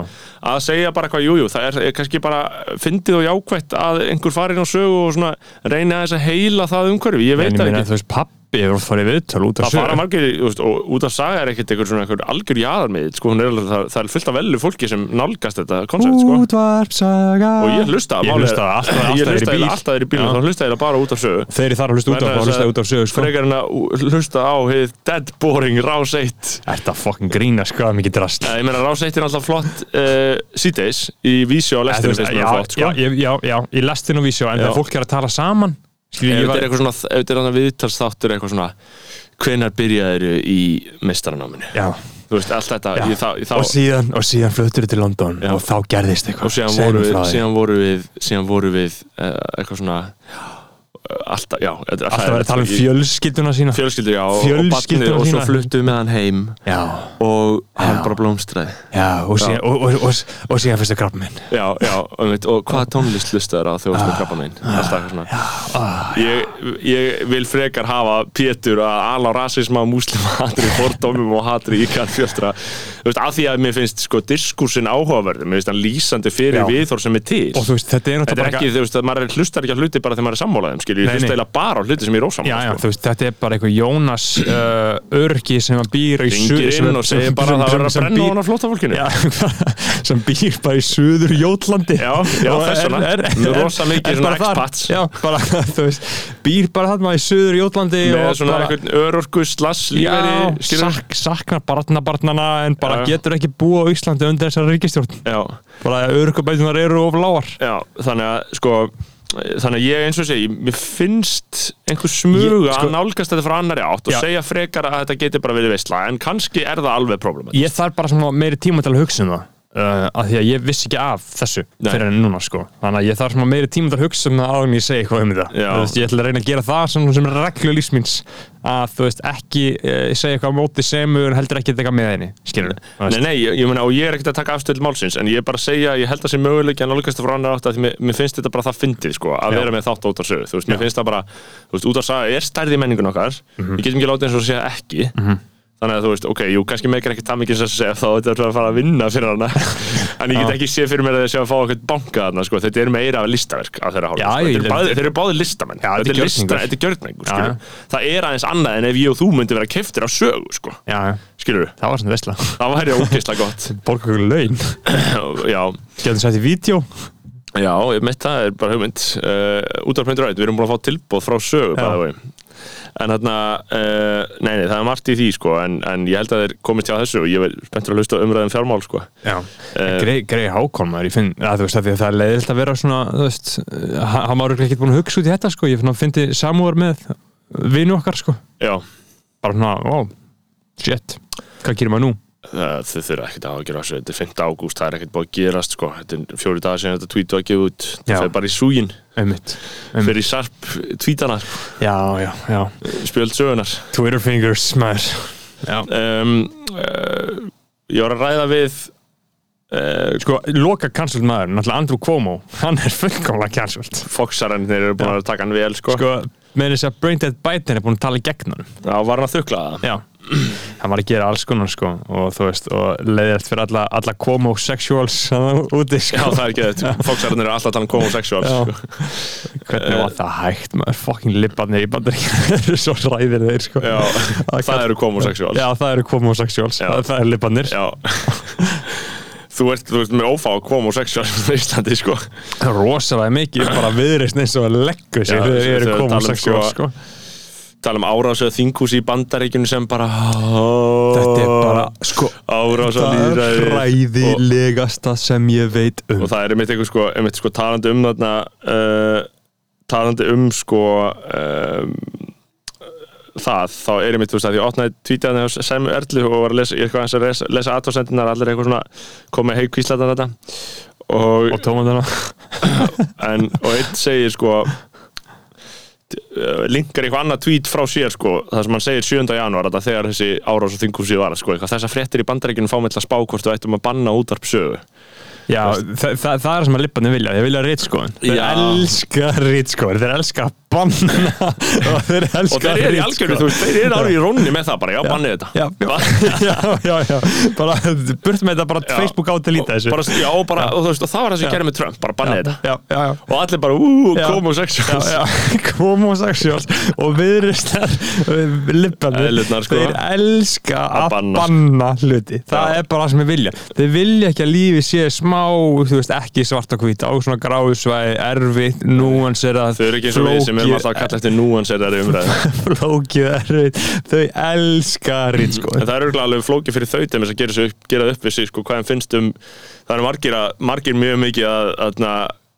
Speaker 2: að segja bara hvað, jújú, það er, er kannski bara fyndið og jákvætt að einhver farin á sögu og svona reyna þess að heila það umhverfi, ég veit
Speaker 1: en ég
Speaker 2: það
Speaker 1: meina,
Speaker 2: ekki
Speaker 1: þú veist, pappi hefur oft farið í viðtöl út af
Speaker 2: Það
Speaker 1: sögu.
Speaker 2: fara margir, þú veist, og út af saga er ekkert einhver svona einhver algjör jaðarmið, sko, hún er alveg, það, það er fullt af velu fólki sem nálgast þetta koncept, sko.
Speaker 1: Útvarpsaga
Speaker 2: og ég hlusta
Speaker 1: Ég
Speaker 2: málið er-
Speaker 1: hlusta alltaf- alltaf
Speaker 2: ég
Speaker 1: þegar ég
Speaker 2: hlusta
Speaker 1: er í bíl.
Speaker 2: eiginlega
Speaker 1: Já.
Speaker 2: alltaf þegar ég er í bíl þá hlusta ég bara út af sögu
Speaker 1: Þeir eru þar að hlusta út af
Speaker 2: Vegna
Speaker 1: þá
Speaker 2: þess
Speaker 1: hlusta
Speaker 2: að-
Speaker 1: ég út af sögu, sko
Speaker 2: frekar en að ú- hlusta á hið dead boring rás 1
Speaker 1: Þetta fokkin grína sko að mikið drast
Speaker 2: Eh, ég meina rás 1 er alltaf flott uh, síðdeis í vísi og lestinu finnst mér
Speaker 1: já,
Speaker 2: það flott sko.
Speaker 1: já, já, já, já, ég lest þinn og vísjó en
Speaker 2: Já.
Speaker 1: þegar fólk er að tala saman skil,
Speaker 2: ef
Speaker 1: ég,
Speaker 2: þetta er
Speaker 1: var,
Speaker 2: eitthvað svona ef þetta er annað viðtalsþáttur eitthvað svona hvenar byrjaðir í mestaranáminu
Speaker 1: já,
Speaker 2: þú veist allt þetta
Speaker 1: já.
Speaker 2: ég, þá, ég, þá,
Speaker 1: og síðan, og síðan fluttur til London
Speaker 2: Já.
Speaker 1: og þá gerðist eitthvað
Speaker 2: og síðan
Speaker 1: Segðu
Speaker 2: voru,
Speaker 1: mér
Speaker 2: við,
Speaker 1: frá því.
Speaker 2: síðan voru við síðan voru við uh, eitthvað svona eh, alltaf, já, þetta er-
Speaker 1: alltaf
Speaker 2: það
Speaker 1: verið
Speaker 2: er-
Speaker 1: að tala um fjölskylduna sína
Speaker 2: fjölskyldur, já, og,
Speaker 1: Fjölskylduna
Speaker 2: barnið, og svo
Speaker 1: þína.
Speaker 2: fluttum við með hann heim
Speaker 1: já,
Speaker 2: og hann bara blómstræði
Speaker 1: já, og síðan, og, og, og, og síðan fyrstu krabba minn
Speaker 2: já, já, og, veit, og hvaða tónlist lustaður á þegar
Speaker 1: Ah.
Speaker 2: þú krabba minn alltaf eitthvað svona ég, ég vil frekar hafa Pétur að ala á rasisma, múslima hatri, fordómum og hatri í kann fjöldra þú veist, af því að mér finnst sko diskursin áhugaverður, mér finnst hann lýsandi fyrir
Speaker 1: Já.
Speaker 2: viðhorf sem er til
Speaker 1: og þú veist, þetta er
Speaker 2: þetta er
Speaker 1: náttúrulega
Speaker 2: ekki, þú veist, að maður hlustar ekki á hluti bara þegar maður er sammálaðum, skilju,
Speaker 1: Nei,
Speaker 2: ég
Speaker 1: nei.
Speaker 2: hlusta eiginlega bara á hluti sem ég er ósammála
Speaker 1: Já, já,
Speaker 2: sko.
Speaker 1: þú veist, þetta er bara eitthvað Jónas uh, örgi sem að býr í
Speaker 2: ringir
Speaker 1: sem-
Speaker 2: inn og segir
Speaker 1: sem-
Speaker 2: bara
Speaker 1: sem-
Speaker 2: að það verður að
Speaker 1: sem- sem
Speaker 2: brenna
Speaker 1: býr-
Speaker 2: ofan á flótafólkinu
Speaker 1: Já, sem býr bara í suður Jótlandi
Speaker 2: Já, já,
Speaker 1: Og
Speaker 2: þess vegna.
Speaker 1: er- er-
Speaker 2: Nú
Speaker 1: er-
Speaker 2: rosa mikið
Speaker 1: er
Speaker 2: svona
Speaker 1: bara þar.
Speaker 2: expats.
Speaker 1: Já, bara, þú veist, býr bara þarna í suður Jótlandi
Speaker 2: með
Speaker 1: og
Speaker 2: svona
Speaker 1: bara,
Speaker 2: einhvern örorku slass
Speaker 1: Já,
Speaker 2: líferi skilur
Speaker 1: sak, saknar barnabarnana en bara
Speaker 2: Já.
Speaker 1: getur ekki búa á Íslandi undir þessari ríkistjórn
Speaker 2: já,
Speaker 1: bara að örgubætunar eru of lágar
Speaker 2: já, þannig að sko þannig að ég eins og segi, mér finnst einhver smuga
Speaker 1: Ég- sko-
Speaker 2: að nálgast þetta frá annari átt og
Speaker 1: Já.
Speaker 2: segja frekar að þetta geti bara verið veistla en kannski er það alveg problematík
Speaker 1: Ég þarf bara svona meiri tíma til að hugsa um það uh, að því að ég vissi ekki af þessu
Speaker 2: Nei.
Speaker 1: fyrir en núna sko þannig að ég þarf svona meiri tíma til að hugsa um það áður en ég segi eitthvað um þetta
Speaker 2: Já.
Speaker 1: Þú veist, ég ætla að reyna að gera það sem, sem reglu lífsmins að þú veist ekki uh, segja eitthvað á móti semu en heldur ekki eitthvað með henni skilur
Speaker 2: Nei, nei, ég, ég meina, og ég er ekkert að taka afstöld málsins en ég er bara að segja, að ég held að sé möguleik en nálgast frá annar átt að því mér, mér finnst þetta bara það fyndið, sko, að
Speaker 1: Já.
Speaker 2: vera með þátt út af sögu, þú veist, mér finnst það bara, þú veist, út af saga er stærði menningun okkar,
Speaker 1: Mhm.
Speaker 2: við getum ekki látið eins og að segja ekki þannig að þú veist, ok, jú, kannski meikir ekki það mikið sem að segja þá þetta er að fara að vinna fyrir hana en ég get
Speaker 1: Já.
Speaker 2: ekki sé fyrir mér að þessi að fá okkur banka þarna, sko, þetta er meira listaverk af þeirra hálfu,
Speaker 1: Já,
Speaker 2: sko.
Speaker 1: ég-
Speaker 2: Þetta eru báðir- þeir eru báðir listamenn,
Speaker 1: Já, þetta
Speaker 2: þetta
Speaker 1: er
Speaker 2: er lista-
Speaker 1: gjörningur.
Speaker 2: þetta er gjörningur,
Speaker 1: Já,
Speaker 2: skilur. það er aðeins annað en ef ég og þú myndi vera keftir á sögu, sko,
Speaker 1: já, já.
Speaker 2: skilur
Speaker 1: það var svona vesla
Speaker 2: Það væri ógeðslega gott
Speaker 1: borga okkur laun
Speaker 2: Já,
Speaker 1: getum sett í vídeo
Speaker 2: já, ég mitt það er bara hugmynd uh, Útarp.rætt, við erum búin að fá tilbóð frá sögu
Speaker 1: Já.
Speaker 2: bæði En þarna, uh, nei, nei, það er margt í því sko, en, en ég held að þeir komist hjá þessu og ég er spenntur að hlusta á umræðum fjármál sko.
Speaker 1: Já, uh, grei, grei hákon maður, ég finn að þú veist að því að það er leiðilt að vera svona, þú veist, eh, ha- hann var ekki búin að hugsa út í þetta sko, ég finn að fyndi samúar með vinu okkar sko,
Speaker 2: Já,
Speaker 1: bara svona, ó, shit, hvað gerir maður nú?
Speaker 2: það, þau þurfa ekkert að gera þessu Þetta er 5. ágúst, það er ekkert búið að gerast sko. Þetta er fjóri dagar síðan þetta tweet var að gefa út
Speaker 1: Já.
Speaker 2: Það fer bara í súgin,
Speaker 1: Einmitt.
Speaker 2: fer í sarp tweetana sko,
Speaker 1: Já, já, já,
Speaker 2: spjöld sögunar
Speaker 1: Twitter fingers maður. Já.
Speaker 2: um, uh, Ég var að ræða við uh,
Speaker 1: Sko, loka cancelled maður, náttúrulega Andrew Cuomo, hann er fullkomlega cancelled.
Speaker 2: Foxarennir eru búin að taka hann vel sko.
Speaker 1: Sko, með þess að Brain Dead Biden er búin að tala í gegn hann.
Speaker 2: Já, var hann að þukla það?
Speaker 1: Já. Hann var að gera alls konar sko, og þú veist, og leiðilegt fyrir alla, alla Cuomo sexuals hann úti sko.
Speaker 2: Já, það er ekki þetta. Foxarinn eru alltaf að tala um homosexual.
Speaker 1: Já.
Speaker 2: sko.
Speaker 1: Hvernig var það hægt maður, fucking libbarnir í bandaríkjum eru svo ræðir þeir sko
Speaker 2: Já, það eru homosexual.
Speaker 1: Já, það eru homosexuals,
Speaker 2: Já.
Speaker 1: það, það eru libbarnir
Speaker 2: Þú ert, þú ert með ófá homosexual á Íslandi, sko.
Speaker 1: Rosalega mikið, bara viðreist eins og leggur sig
Speaker 2: Já,
Speaker 1: þegar
Speaker 2: þessi-
Speaker 1: þeir eru
Speaker 2: þessi tala um
Speaker 1: homosexuals sko.
Speaker 2: sko- Tala um árásöð þinghús í bandaríkjunum sem bara... Þetta
Speaker 1: Þetta er bara, sko
Speaker 2: Árásöð
Speaker 1: Það er hræðilegasta sem ég veit um
Speaker 2: og það er einmitt eitthvað sko, einmitt sko talandi um þarna uh, talandi um sko um, það, þá er einmitt þú veist að ég opnaði tvítjaðan hjá Sæmi Erlu og var að lesa, ég er eitthvað hans að lesa, lesa aðtóðsendinar allir eitthvað svona, komið heikvíslatan þetta og,
Speaker 1: Og tómandana
Speaker 2: en, og einn segir sko t- uh, linkar eitthvað annað tweet frá sér sko, það sem hann segir 7. janúar þetta þegar þessi árás og þingum síðu var sko, eitthvað, þessar fréttir í bandarækjunum fá með til að spá hvort þú ættum að banna útarp sögu
Speaker 1: Já, það, það, það er sem að libbarnir vilja, þeir vilja rítskóðin Þeir
Speaker 2: Já.
Speaker 1: elska rítskóðin, þeir elska að banna og þeir elska
Speaker 2: og þeir eru í
Speaker 1: ritskoðun.
Speaker 2: algjörðu, sko. þú veist, þeir eru árið í rónni með það bara, já, bannið þetta
Speaker 1: já, já, já, já, já bara burt með þetta bara
Speaker 2: Já.
Speaker 1: Facebook átt að líta þessu
Speaker 2: bara, já, og bara, og þú veist, og það var það sem ég gerði með Trump bara bannið þetta,
Speaker 1: já, já, já
Speaker 2: og allir bara, ú,
Speaker 1: Já.
Speaker 2: komu
Speaker 1: Já,
Speaker 2: sexuals
Speaker 1: já, homosexuals og viðristar lippandi
Speaker 2: Eðlurnar, sko.
Speaker 1: þeir elska að,
Speaker 2: banna,
Speaker 1: banna,
Speaker 2: sko.
Speaker 1: hluti það
Speaker 2: Já.
Speaker 1: er bara það sem þeir vilja þeir vilja ekki að lífi sé smá þú veist, ekki svart og hvít á svona gráðsvæði, erfitt, núans er að
Speaker 2: þau eru ekki eins og við sem erum alltaf að kalla eftir núanseraðri umræðu
Speaker 1: flókið erfitt þau elska rít sko
Speaker 2: en það er örugglega alveg flókið fyrir þau til þess að gera, sig, upp- gera upp við sig, sko, hvað þeim finnst um það eru margir, að, margir mjög mikið að, að,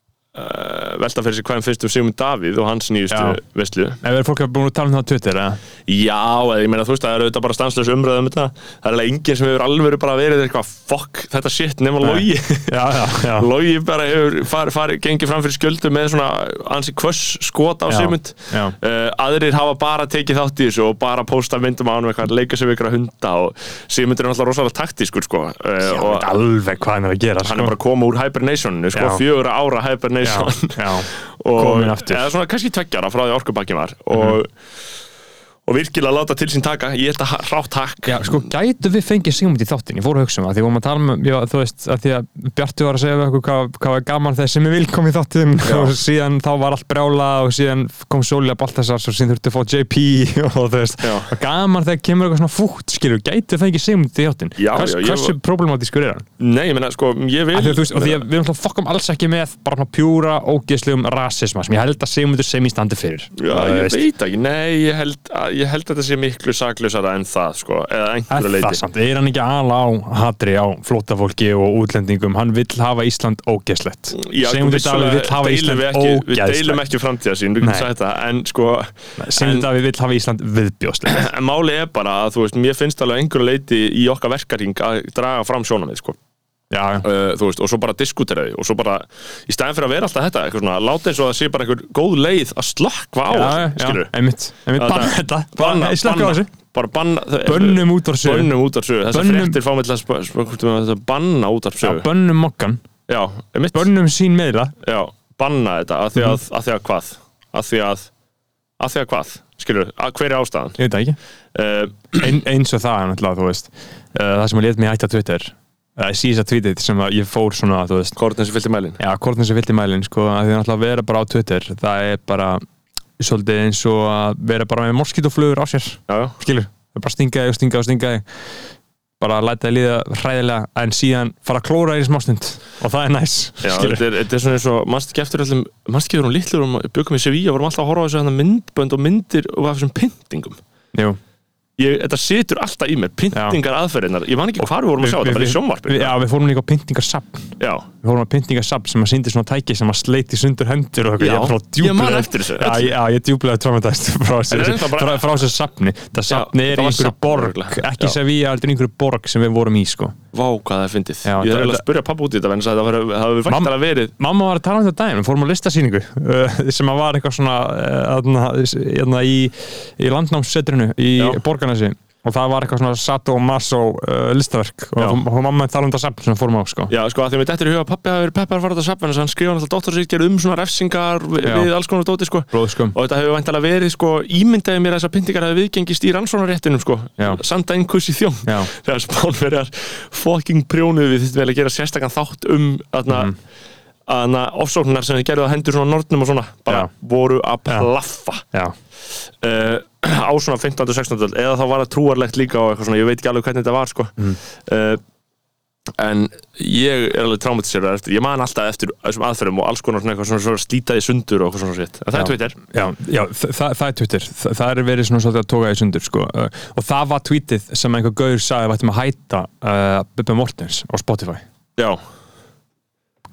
Speaker 2: uh, velta fyrir sig hvað þeim finnst um Sigmund Davíð og hans
Speaker 1: Já.
Speaker 2: nýjustu veistlu
Speaker 1: ef er fólk að búin að tala um það á Twitter eða?
Speaker 2: Já, eða ég meina þú veist það eru auðvitað bara stanslösa umræðum þetta Það er alveg enginn sem hefur alveg bara verið eitthvað Fuck, þetta shit nema logi
Speaker 1: já, já, já
Speaker 2: Logi bara hefur far, far, gengið fram fyrir skjöldu með svona ansi kvöss skot á
Speaker 1: Já,
Speaker 2: Sigmund
Speaker 1: já.
Speaker 2: uh, Aðrir hafa bara tekið þátt í þessu og bara posta myndum á hann eitthvað, leika sér við ykkur að hunda og Sigmund er náttúrulega rosalega taktískur sko uh,
Speaker 1: Já,
Speaker 2: og
Speaker 1: veit alveg hvað hann er að gera
Speaker 2: hann er bara að koma úr hibernationinu sko,
Speaker 1: Já.
Speaker 2: fjögur ára hibernation
Speaker 1: já, já,
Speaker 2: og,
Speaker 1: komin aftur
Speaker 2: eða svona kannski tveggjara frá því orkubakki var og, og virkilega láta til sín taka ég held að ha- rátt hakk
Speaker 1: Mhm. Já, sko, gætu við fengið Sigmund í þáttin? Ég fór að hugsa um það, því vorum að tala um, já, þú veist, að því að Bjartu var að segja við okkur hvað, hvað var gaman þegar sem ég vil kom í þáttin og síðan þá var allt brjála og síðan kom Sólja Baltasars og síðan þurftu að fá JP og þú veist,
Speaker 2: Já.
Speaker 1: og gaman þegar kemur eitthvað svona fútt, skilur, gætu við fengið Sigmund í þáttin?
Speaker 2: Já,
Speaker 1: Hvers,
Speaker 2: já, ég-
Speaker 1: Hversu problematískur er hann?
Speaker 2: nei, ég meina sko, ég vil
Speaker 1: Af Því, að, þú veist, og því að við erum alltaf fokkum alls ekki með bara svona pjúra, ógeðslegum rasisma sem ég held að Sigmundur sem í standi fyrir.
Speaker 2: Já,
Speaker 1: Þú
Speaker 2: ég
Speaker 1: veist,
Speaker 2: veit ekki, nei, ég held, að, ég held að þetta sé miklu saklausara en það, sko, eða
Speaker 1: Er
Speaker 2: einhverju
Speaker 1: það
Speaker 2: leiti.
Speaker 1: samt, er hann ekki ala á hatri á flótafólki og útlendingum hann vill hafa Ísland ógeslegt
Speaker 2: Já, sko,
Speaker 1: Sigmundur Davíð
Speaker 2: vissulega
Speaker 1: vill hafa
Speaker 2: deilum
Speaker 1: Ísland
Speaker 2: við ekki- Við deilum
Speaker 1: ógeslegt
Speaker 2: ekki framtíða sín, við getum
Speaker 1: Nei.
Speaker 2: sagt það, en sko,
Speaker 1: Sigmundur Davíð vill hafa Ísland viðbjóslegt
Speaker 2: en máli er bara að, þú veist, mér finnst alveg einhverju leiti í okkar verkaring að draga fram sjónamið, sko.
Speaker 1: já,
Speaker 2: uh, þú veist, og svo bara diskutera því og svo bara, í stæðan fyrir að vera alltaf þetta eitthvað svona, láta eins og það sé bara einhver góð leið að slökkva á,
Speaker 1: já, já,
Speaker 2: skilur
Speaker 1: einmitt, einmitt
Speaker 2: Þetta-
Speaker 1: banna þetta,
Speaker 2: banna,
Speaker 1: Nei, slökkva á
Speaker 2: banna,
Speaker 1: þessu
Speaker 2: bara banna það-
Speaker 1: Bönnum útvarpssögu.
Speaker 2: Bönnum útvarsögu, þessar
Speaker 1: Bönnum-
Speaker 2: fréttir fá mig til að sp- sp- hvort um að þetta banna
Speaker 1: já,
Speaker 2: útvarsögu
Speaker 1: bönnum mokkan,
Speaker 2: Já, einmitt,
Speaker 1: bönnum sín meira
Speaker 2: já, banna þetta að því að,
Speaker 1: Mhm.
Speaker 2: að því að hvað að því að, að því að hvað skilur, að hver er ástæðan
Speaker 1: ég veit það ekki,
Speaker 2: uh,
Speaker 1: Ein, eins og það er náttúrulega, þú veist uh, það sem að létt mig hætta Twitter uh, síðast að tweetið sem að ég fór svona, þú veist
Speaker 2: Kortin sem fylgti mælin
Speaker 1: Já, hvort þessi fyllt í mælinn, sko, að því náttúrulega að vera bara á Twitter, það er bara svolítið eins og að vera bara með morskítoflugur á sér,
Speaker 2: Já, já,
Speaker 1: skilur það er bara stingaði og stingaði og stingaði bara að læta þið líða hræðilega en síðan fara að klóra þér í smástund og það er næs,
Speaker 2: já
Speaker 1: skilur
Speaker 2: þetta er, þetta er svona eins og mannst ekki eftir öllum, mannst ekki verðum lítlur og byggum í Sevilla og vorum alltaf að horfa á þessu þarna myndbönd og myndir og af þessum pyntingum
Speaker 1: Jú,
Speaker 2: ég, þetta situr alltaf í mér, pyntingar aðferðinar ég man ekki hvar við vorum að sjá þetta, bara í sjónvarpi
Speaker 1: við, Já, við fórum líka á pyntingarsafn
Speaker 2: já,
Speaker 1: Við fórum á pyntingarsafn sem að syndi svona tæki sem að sleiti sundur hendur og eitthvað
Speaker 2: Já,
Speaker 1: Ég er frá
Speaker 2: ég man
Speaker 1: djúplega-
Speaker 2: eftir þessu,
Speaker 1: Já,
Speaker 2: öllu.
Speaker 1: ég- já, ég djúblega traumatæst frá
Speaker 2: En er
Speaker 1: þessu
Speaker 2: það bara-
Speaker 1: frá, frá þessu safni Það safni er
Speaker 2: það
Speaker 1: í
Speaker 2: var
Speaker 1: einhverju
Speaker 2: safn,
Speaker 1: borg
Speaker 2: örugglega.
Speaker 1: Ekki
Speaker 2: Já.
Speaker 1: Sevilla, heldur í einhverju borg sem við vorum í, sko
Speaker 2: vá hvað það er
Speaker 1: Já,
Speaker 2: fyndið ég
Speaker 1: þetta-
Speaker 2: þarf eiginlega að spyrja pappa út í þetta vegna þess að það var- það hefur
Speaker 1: Mamma-
Speaker 2: vantar að verið
Speaker 1: Mamma var að tala um þetta daginn, við fórum á listasýningu uh, sem að var eitthvað svona uh, aðna, aðna, í, í landnámssetrinu í
Speaker 2: Já.
Speaker 1: Borgarnesi og það var eitthvað svona Sato Maso uh, listaverk og
Speaker 2: Já.
Speaker 1: fór- fór mamma að tala um þetta safn sem við fórum á sko.
Speaker 2: Já, sko, að því að mér dættir í huga að pappi hafi verið peppar að fara þetta safn en þess að hann skrifa alltaf dóttorsýkjar um svona refsingar við,
Speaker 1: Já.
Speaker 2: við alls konar dóti, sko
Speaker 1: Blóðskum
Speaker 2: og þetta hefur vantilega verið, sko, ímyndaði mér að þessar pyntingar hafi viðgengist í rannsónaréttinum, sko
Speaker 1: Já.
Speaker 2: sanda einhvers í þjón
Speaker 1: Já.
Speaker 2: þegar spánverjar fucking prjónuð við þittum vel að gera sérstakann þátt um aðna,
Speaker 1: Mhm.
Speaker 2: aðna ofsóknar sem þið gerðu að hendur svona nornum og svona bara
Speaker 1: Já.
Speaker 2: voru að plaffa
Speaker 1: Já.
Speaker 2: uh, á svona 15. og 16. öld eða þá var það trúarlegt líka og eitthvað svona, ég veit ekki alveg hvernig þetta var sko.
Speaker 1: Mhm.
Speaker 2: mm. en ég er alveg traumatiserað eftir, ég man alltaf eftir þessum aðferðum og alls konar svona eitthvað svona, svona slítaði sundur og eitthvað svona sétt, en það
Speaker 1: Já.
Speaker 2: er Twitter
Speaker 1: Já, já þa þa það er Twitter Þa það er verið svona svolítið að toga í sundur sko. uh, og það var tweetið sem einhver gaur sagði að við ættum að hætta uh, Bubba Mortens á Spotify
Speaker 2: já,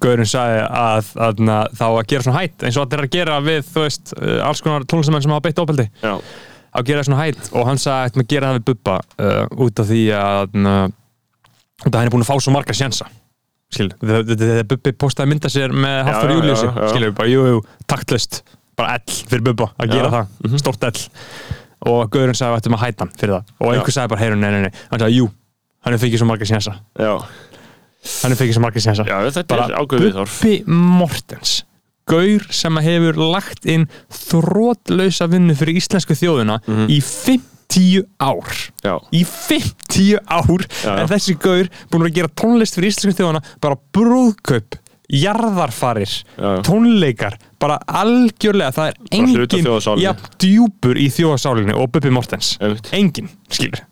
Speaker 1: Gaurinn sagði að, að na, þá að gera svona hætt eins og allir er að gera við þú veist, uh, alls konar tónlistamenn sem hafa beitt ofbeldi
Speaker 2: já,
Speaker 1: að gera svona hætt og hann sagði að gera það við Bubba uh, út af því að uh, út af að hann er búin að fá svo marga sjansa skilur, þegar þegar- þegar Bubbi postaði mynda sér með Hafþór
Speaker 2: já,
Speaker 1: Júliusi,
Speaker 2: já, já.
Speaker 1: skilur, bara jú, jú taktlust, bara ell fyrir Bubba að
Speaker 2: Já. Mhm.
Speaker 1: gera það, stórt ell og Gaurinn sagði að við ættum að hætta hann fyrir það og einhver sagði bara, heyrun, nei, nei, nei, hann sagði, jú hann er fengið svo marga sjansa,
Speaker 2: já,
Speaker 1: hann er fengið svo marga sjansa
Speaker 2: já þetta er
Speaker 1: bara
Speaker 2: ágöfið þorf
Speaker 1: Bubbi Mortens gaur sem hefur lagt inn þrótlausa vinnu fyrir íslensku þjóðuna
Speaker 2: Mhm.
Speaker 1: í 50 ár
Speaker 2: já,
Speaker 1: í 50 ár
Speaker 2: Já, já.
Speaker 1: en þessi gaur búin að gera tónlist fyrir íslensku þjóðuna bara brúðkaup jarðarfarir,
Speaker 2: Já, já.
Speaker 1: tónleikar bara algjörlega, það er
Speaker 2: hluti af
Speaker 1: engin
Speaker 2: þjóðarsálinni.
Speaker 1: jafn djúpur í þjóðasálinni og Bubbi Mortens
Speaker 2: Einmitt.
Speaker 1: engin, skilur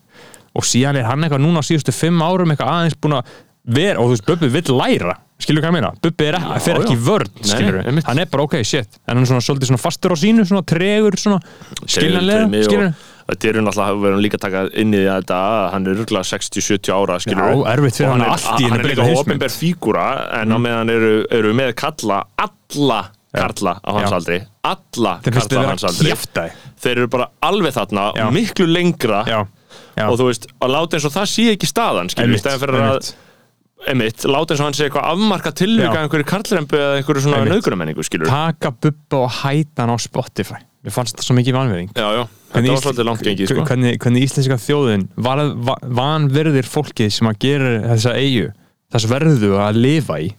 Speaker 1: og síðan er hann eitthvað núna á síðustu fimm árum eitthvað aðeins búin að vera og þú veist, Bubbi vill læra skilur hvað ég meina, Bubbi er ekki, fer
Speaker 2: já.
Speaker 1: ekki í vörn
Speaker 2: Nei,
Speaker 1: skilur,
Speaker 2: einmitt.
Speaker 1: hann er bara ok, shit en hann er svona svolítið svona fastur á sínu, svona tregur svona skiljanlega, skilur
Speaker 2: þetta er hún alltaf að vera líka að taka inn í þetta að hann er rúglega 60-70 ára skilur
Speaker 1: Já, erfitt fyrir
Speaker 2: Og
Speaker 1: hann að allt í einu
Speaker 2: hann er
Speaker 1: breyta
Speaker 2: líka
Speaker 1: heimsmynd. Mm.
Speaker 2: ofinber fígúra en á meðan eru, eru með kalla alla karla á hans
Speaker 1: Já.
Speaker 2: aldri alla
Speaker 1: þeir finnst
Speaker 2: karla
Speaker 1: þið
Speaker 2: á
Speaker 1: vera
Speaker 2: hans aldri
Speaker 1: kjæftæði
Speaker 2: þeir eru bara alveg þarna
Speaker 1: Já.
Speaker 2: miklu lengra
Speaker 1: já, já,
Speaker 2: og þú veist, að láta eins og það sé ekki staðan skilur, í
Speaker 1: Einmitt,
Speaker 2: stæðan fyrir að
Speaker 1: einmitt.
Speaker 2: emitt, láta eins og hann sé eitthvað afmarka tilvika
Speaker 1: Já.
Speaker 2: einhverju karlrembu eða einhverju svona
Speaker 1: Einmitt.
Speaker 2: nöðgrunamenningu skilur
Speaker 1: taka Bubba og hæta hann á Spotify mér fannst það svo mikið vanverðing
Speaker 2: Já, já, þetta var svolítið langt gengið sko.
Speaker 1: hvernig, hvernig íslenska þjóðin var, va, vanverðir fólkið sem að gera þessa eigu þess verðu að lifa í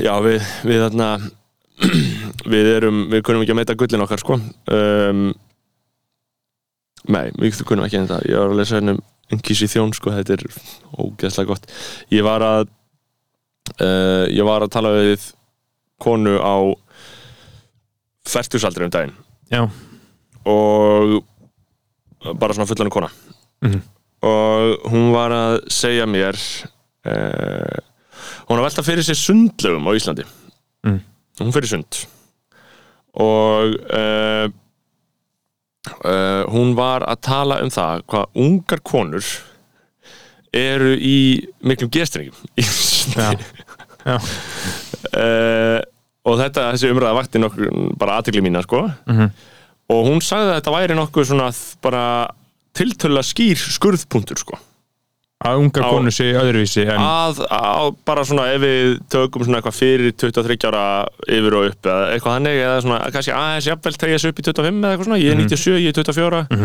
Speaker 2: Já, við, við þarna við erum, við kunum ekki að meita gullin okkar sko um, Nei, við kunum ekki þetta ég var að lesa hennum Engis í þjón sko, þetta er ógeðslega gott Ég var að uh, ég var að tala við konu á fertugsaldri um daginn
Speaker 1: já,
Speaker 2: og bara svona fullan kona
Speaker 1: Mhm.
Speaker 2: og hún var að segja mér uh, hún var að velta fyrir sér sundlögum á Íslandi
Speaker 1: Mm.
Speaker 2: hún fyrir sund og uh, uh, hún var að tala um það hvað ungar konur eru í miklum gestringum í sundi
Speaker 1: já, já.
Speaker 2: uh, og þetta þessi umræða vakti nokkur bara aðtikli mína sko
Speaker 1: Mhm.
Speaker 2: og hún sagði að þetta væri nokkuð svona þ- bara tiltöla skýr skurðpuntur sko
Speaker 1: að unga
Speaker 2: Á-
Speaker 1: konu sé öðruvísi en
Speaker 2: að, að bara svona ef við tökum svona eitthvað fyrir 23 ára yfir og upp eða eitthvað þannig eða svona kannski aðeins jafnvel tegja þessu upp í 25 eða eitthvað svona,
Speaker 1: Mhm.
Speaker 2: ég er 97, ég er 24 uh,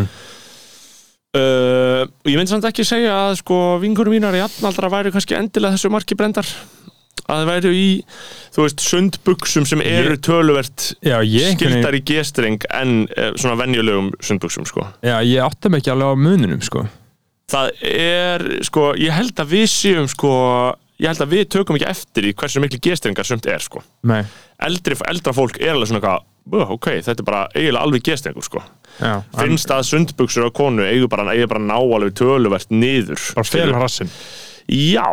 Speaker 2: og ég myndi samt ekki segja að sko vingurum mínar í allnaldra væri kannski endilega þessu marki brendar að það væri í, þú veist, sundbuksum sem eru töluvert
Speaker 1: já, ég, einhvern veginn-
Speaker 2: skildar í gestreng en eh, svona venjulegum sundbuksum sko
Speaker 1: já, ég átti mig ekki alveg á mununum sko.
Speaker 2: það er, sko, ég held að við séum, sko, ég held að við tökum ekki eftir í hversu miklu gestringar sumt er, sko.
Speaker 1: Nei,
Speaker 2: Eldri, eldra fólk er alveg svona eitthvað, "Bú, ok, þetta er bara eiginlega alveg gestringur, sko.
Speaker 1: já, en
Speaker 2: Finnst að sundbuksur á konu eigur bara, eigur bara að ná alveg töluvert niður.
Speaker 1: bara
Speaker 2: skilur.
Speaker 1: fela Mhm. rassin
Speaker 2: Já,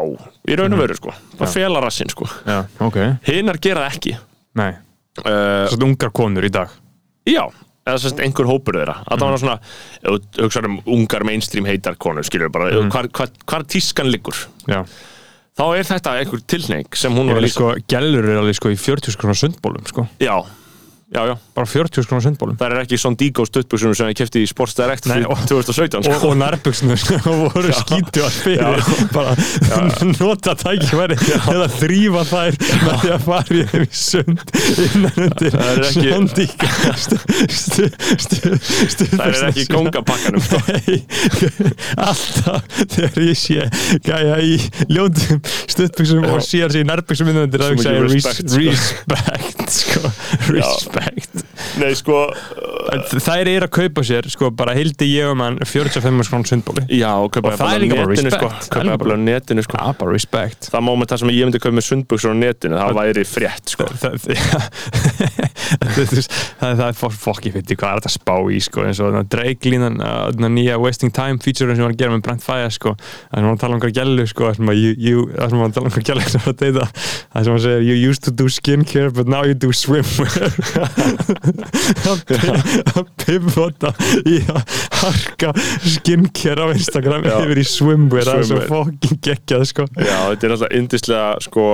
Speaker 2: í raun og veru, sko. Bara fela rassinn, sko.
Speaker 1: já, ok,
Speaker 2: Hinar gera það ekki.
Speaker 1: nei,
Speaker 2: Uh,
Speaker 1: þess að ungar konur í dag
Speaker 2: Já, eða sérst einhver hópur þeirra að
Speaker 1: Mhm.
Speaker 2: það var svona, ef þú hugsaður um ungar mainstream heitar konu, skilur bara
Speaker 1: Mhm.
Speaker 2: hvar, hvar, hvar tískan liggur
Speaker 1: já,
Speaker 2: þá er þetta einhver tilneik sem hún
Speaker 1: ég er
Speaker 2: var að
Speaker 1: alveg
Speaker 2: lýsa
Speaker 1: sko, gælur er alveg sko í 40 skrona sundbólum sko,
Speaker 2: já, já, já,
Speaker 1: bara 40 skrona sundbólum
Speaker 2: það er ekki svon Digo stuttbuksunum sem ég kefti í Sports Direct
Speaker 1: Nei,
Speaker 2: fyrir
Speaker 1: og-
Speaker 2: 2017
Speaker 1: og,
Speaker 2: sko.
Speaker 1: og nærbuksunum sem voru skítu að fyrir bara nota tækifæri eða þrýfa þær með því að fara í þeim í sund innan undir
Speaker 2: Það er ekki-
Speaker 1: sandík
Speaker 2: það er ekki í kongapakkanum sko.
Speaker 1: Nei, alltaf þegar ég sé gæja í ljóndum stuttbuxum og sé hans í nærbuxum innandir
Speaker 2: Svo
Speaker 1: að hugsa ég
Speaker 2: mikið
Speaker 1: respect,
Speaker 2: respect, sko.
Speaker 1: respect sko, respect
Speaker 2: Nei, sko uh,
Speaker 1: þær eru að kaupa sér sko, bara hildi ég um hann 45 skrón sundbóli
Speaker 2: já, og kaupa
Speaker 1: Og það er
Speaker 2: jafnvel á
Speaker 1: líka bara respect.
Speaker 2: netinu,
Speaker 1: Það
Speaker 2: sko.
Speaker 1: er
Speaker 2: kaupa
Speaker 1: líka
Speaker 2: jafnvel á netinu sko.
Speaker 1: Já, Ah, bara respect
Speaker 2: það moment það sem ég myndi kaupa með sundbuksun á netinu það væri frétt sko.
Speaker 1: Þa, þa, það, það, það, það er fó- fokki fyndi hvað er þetta að spá í sko, eins og þannig dreiklínan uh, nýja Wasting Time feature sem var að gera með Brent Fire sko, það sem var að tala um hvað gælu sko, það sem að you- you- það sem var að tala um hvað gælu sem var að deyta það sem að segja you used to do skincare but now you do swimwear að pi- að pivota í að harka skincare á Instagram
Speaker 2: Já.
Speaker 1: yfir í swimwear, það er svo
Speaker 2: Swimwear.
Speaker 1: fokkin geggjað sko.
Speaker 2: já, þetta er alltaf yndislega sko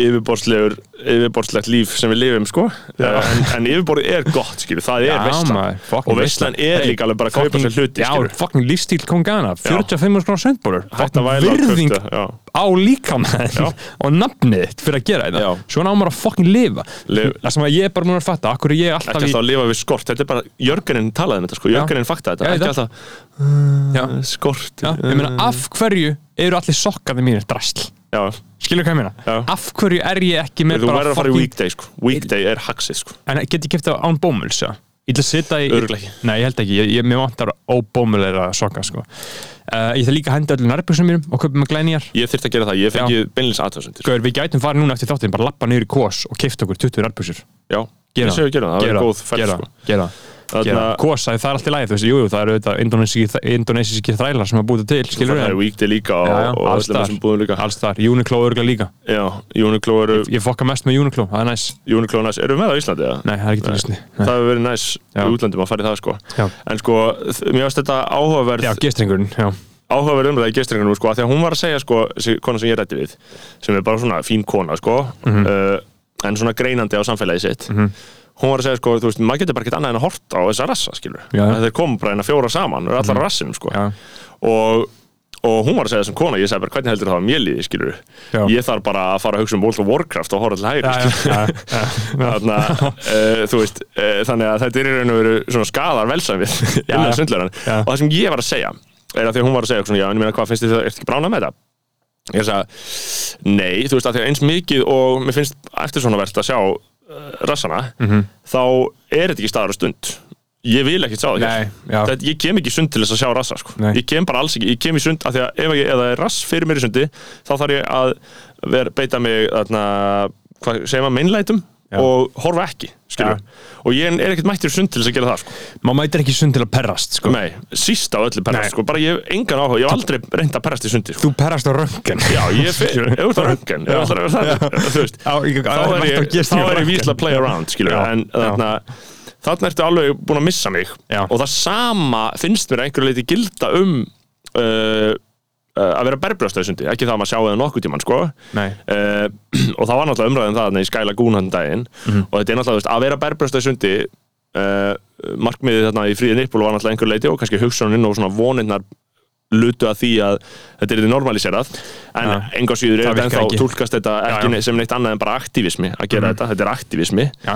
Speaker 2: yfirborðslegur yfirborðslegt líf sem við lifum sko
Speaker 1: Já.
Speaker 2: en, en yfirborðið er gott skilur, það er veistlan
Speaker 1: veistlan
Speaker 2: og veistlan er líka alveg bara að kaupa sér hluti
Speaker 1: já,
Speaker 2: skilur.
Speaker 1: fucking lífstíl kongana 45 skrónar sendbólur
Speaker 2: Hætta að væla á
Speaker 1: virðing
Speaker 2: kvöldu, já.
Speaker 1: á líkamæðin
Speaker 2: Já.
Speaker 1: og nafnið þitt fyrir að gera þetta
Speaker 2: Já.
Speaker 1: svona á maður að fucking lifa
Speaker 2: Lif-
Speaker 1: það sem að ég er bara múin að fatta akkur er ég
Speaker 2: ekki
Speaker 1: alltaf í
Speaker 2: alltaf að lifa við skort þetta er bara, Jörgeninn talaði um þetta sko, Jörgeninn fakta þetta
Speaker 1: Já, ég
Speaker 2: ekki
Speaker 1: veit.
Speaker 2: alltaf
Speaker 1: já,
Speaker 2: skort
Speaker 1: já, ég meina af hverju eru allir sokkarnir mínir drasl
Speaker 2: já.
Speaker 1: skilur hvað ég meina
Speaker 2: Já.
Speaker 1: af hverju er ég ekki með
Speaker 2: þú
Speaker 1: bara
Speaker 2: verður að fara í
Speaker 1: fucking
Speaker 2: weekday sko. weekday er haxið sko.
Speaker 1: en get ég kipta án bómuls já? ég ætla að setja í
Speaker 2: Örugglega ekki.
Speaker 1: nei, ég held ekki, ég, ég, mér vantar óbómuleira sokka sko. uh, ég ætla líka að henda öllu nærbjöksum mínum og kaupa með glænýjar
Speaker 2: ég þurfti að gera það, ég sko. fengi beinleins aðtöðsendir
Speaker 1: Gauður, við gætum farið núna eftir þáttinn, bara lappa niður í kós og kifta okkur 20 rærbúsir.
Speaker 2: já,
Speaker 1: Gera
Speaker 2: ég segi að gera það, það
Speaker 1: Gera,
Speaker 2: er góð ferð
Speaker 1: gera,
Speaker 2: sko.
Speaker 1: gera,
Speaker 2: Þarna-
Speaker 1: gera. Kós, það er allt í lagi, þú veist, jú, jú, það eru þetta indonesiski, indonesiski þrælar sem að búta til,
Speaker 2: Þú
Speaker 1: skilur
Speaker 2: færð það er
Speaker 1: við.
Speaker 2: weekday líka og,
Speaker 1: Já, já,
Speaker 2: og
Speaker 1: alls
Speaker 2: öllum
Speaker 1: staðar.
Speaker 2: þessum búðum líka
Speaker 1: Alls þar, Uniqlo örgulega líka.
Speaker 2: já, Uniqlo eru
Speaker 1: Ég fokka mest með Uniqlo, það er næs.
Speaker 2: Uniqlo næs, eru við með það á Íslandi eða?
Speaker 1: Nei, það er ekki til listni.
Speaker 2: það hefur verið næs
Speaker 1: Já.
Speaker 2: í útlandum að fara í það sko
Speaker 1: Já.
Speaker 2: en sko, þ- mér finnst þetta áhugaverð
Speaker 1: Já, gestringurinn, já.
Speaker 2: áhugaverð umræða í gestringunum sko, af því að hún var að segja sko, þessi kona sem ég rætti við sem er bara svona fín kona sko,
Speaker 1: Mhm.
Speaker 2: uh, en svona greinandi á samfélagi sitt hún var að segja sko, þú veist, maður getur bara ekkert annað en að horta á þessa rassa, skilur
Speaker 1: Já, já. Mhm.
Speaker 2: þeir komu bara en að fjóra saman, eru allar mm rassinum sko.
Speaker 1: Já.
Speaker 2: og, og hún var að segja sem kona ég sagði bara, hvernig heldur það að mér líði, skilur
Speaker 1: Já.
Speaker 2: ég þarf bara að fara að hugsa um World of Warcraft og horfa til hægri, skilur Þarna, uh, þú veist, uh, þannig að þetta er í raun og veru svona skadar velsæmið innan
Speaker 1: já.
Speaker 2: sundlæran
Speaker 1: Já.
Speaker 2: og það sem ég var að segja er að því að hún var að segja svona, já, en ég meina, hvað finnst þið það, ertu ekki bránað með þetta? Ég er að segja, nei, þú veist, að því að eins mikið og mér finnst eftir svona verðt að sjá uh, rassana,
Speaker 1: Mhm.
Speaker 2: þá er þetta ekki staðar og stund ég vil ekki sjá það
Speaker 1: Nei, já.
Speaker 2: Þetta- ég kem ekki í sund til þess að sjá rassa sko.
Speaker 1: Nei.
Speaker 2: ég kem bara alls ekki, ég kem í sund af því að ef, ég, ef það er rass fyrir mér í sundi þá þarf ég að ver, beita mig þarna, hvað segir maður, meinlætum
Speaker 1: Já.
Speaker 2: og horfa ekki skilur.
Speaker 1: Já.
Speaker 2: og ég er ekkert mættur í sund til þess að gera það sko.
Speaker 1: Má mætir ekki sund til að perrast, sko.
Speaker 2: Nei, síst á öllu
Speaker 1: Nei.
Speaker 2: perrast sko. bara ég hef engan áhuga, ég hef aldrei reynd að perrast í sundi sko.
Speaker 1: Þú perrast á röntgen.
Speaker 2: já, ég fyrir, ef þú ert að röngan ef þú ert að röngan, þú veist
Speaker 1: Á, ég-
Speaker 2: þá er
Speaker 1: alltaf
Speaker 2: ég,
Speaker 1: gerst
Speaker 2: þá
Speaker 1: á
Speaker 2: er ég
Speaker 1: röntgen.
Speaker 2: vísla að play around skilur,
Speaker 1: Já,
Speaker 2: en
Speaker 1: já.
Speaker 2: þarna þarna ertu alveg búin að missa mig
Speaker 1: Já.
Speaker 2: og það sama finnst mér að einhverju leiti gilda um uh, uh, að vera berbrjóstaði sundi, ekki það að maður sjá eða nokkuð tímann sko
Speaker 1: Nei.
Speaker 2: Uh, og það var náttúrulega umræðin það þarna í Sky Lagoon hann daginn
Speaker 1: Mhm.
Speaker 2: og þetta er náttúrulega þú veist, að vera berbrjósta í sundi uh, markmiðið þarna í fríðin yppul var náttúrulega einhver leiti og kannski hugsaninn og svona vonirnar lutu að því að þetta er þetta normaliserað en ja.
Speaker 1: Já.
Speaker 2: enga síður er
Speaker 1: Það
Speaker 2: þetta
Speaker 1: virkar
Speaker 2: ennþá
Speaker 1: ekki.
Speaker 2: túlkast þetta ekki
Speaker 1: Já, já.
Speaker 2: neitt- sem neitt annað en bara aktivismi að gera þetta, þetta er aktivismi
Speaker 1: Já.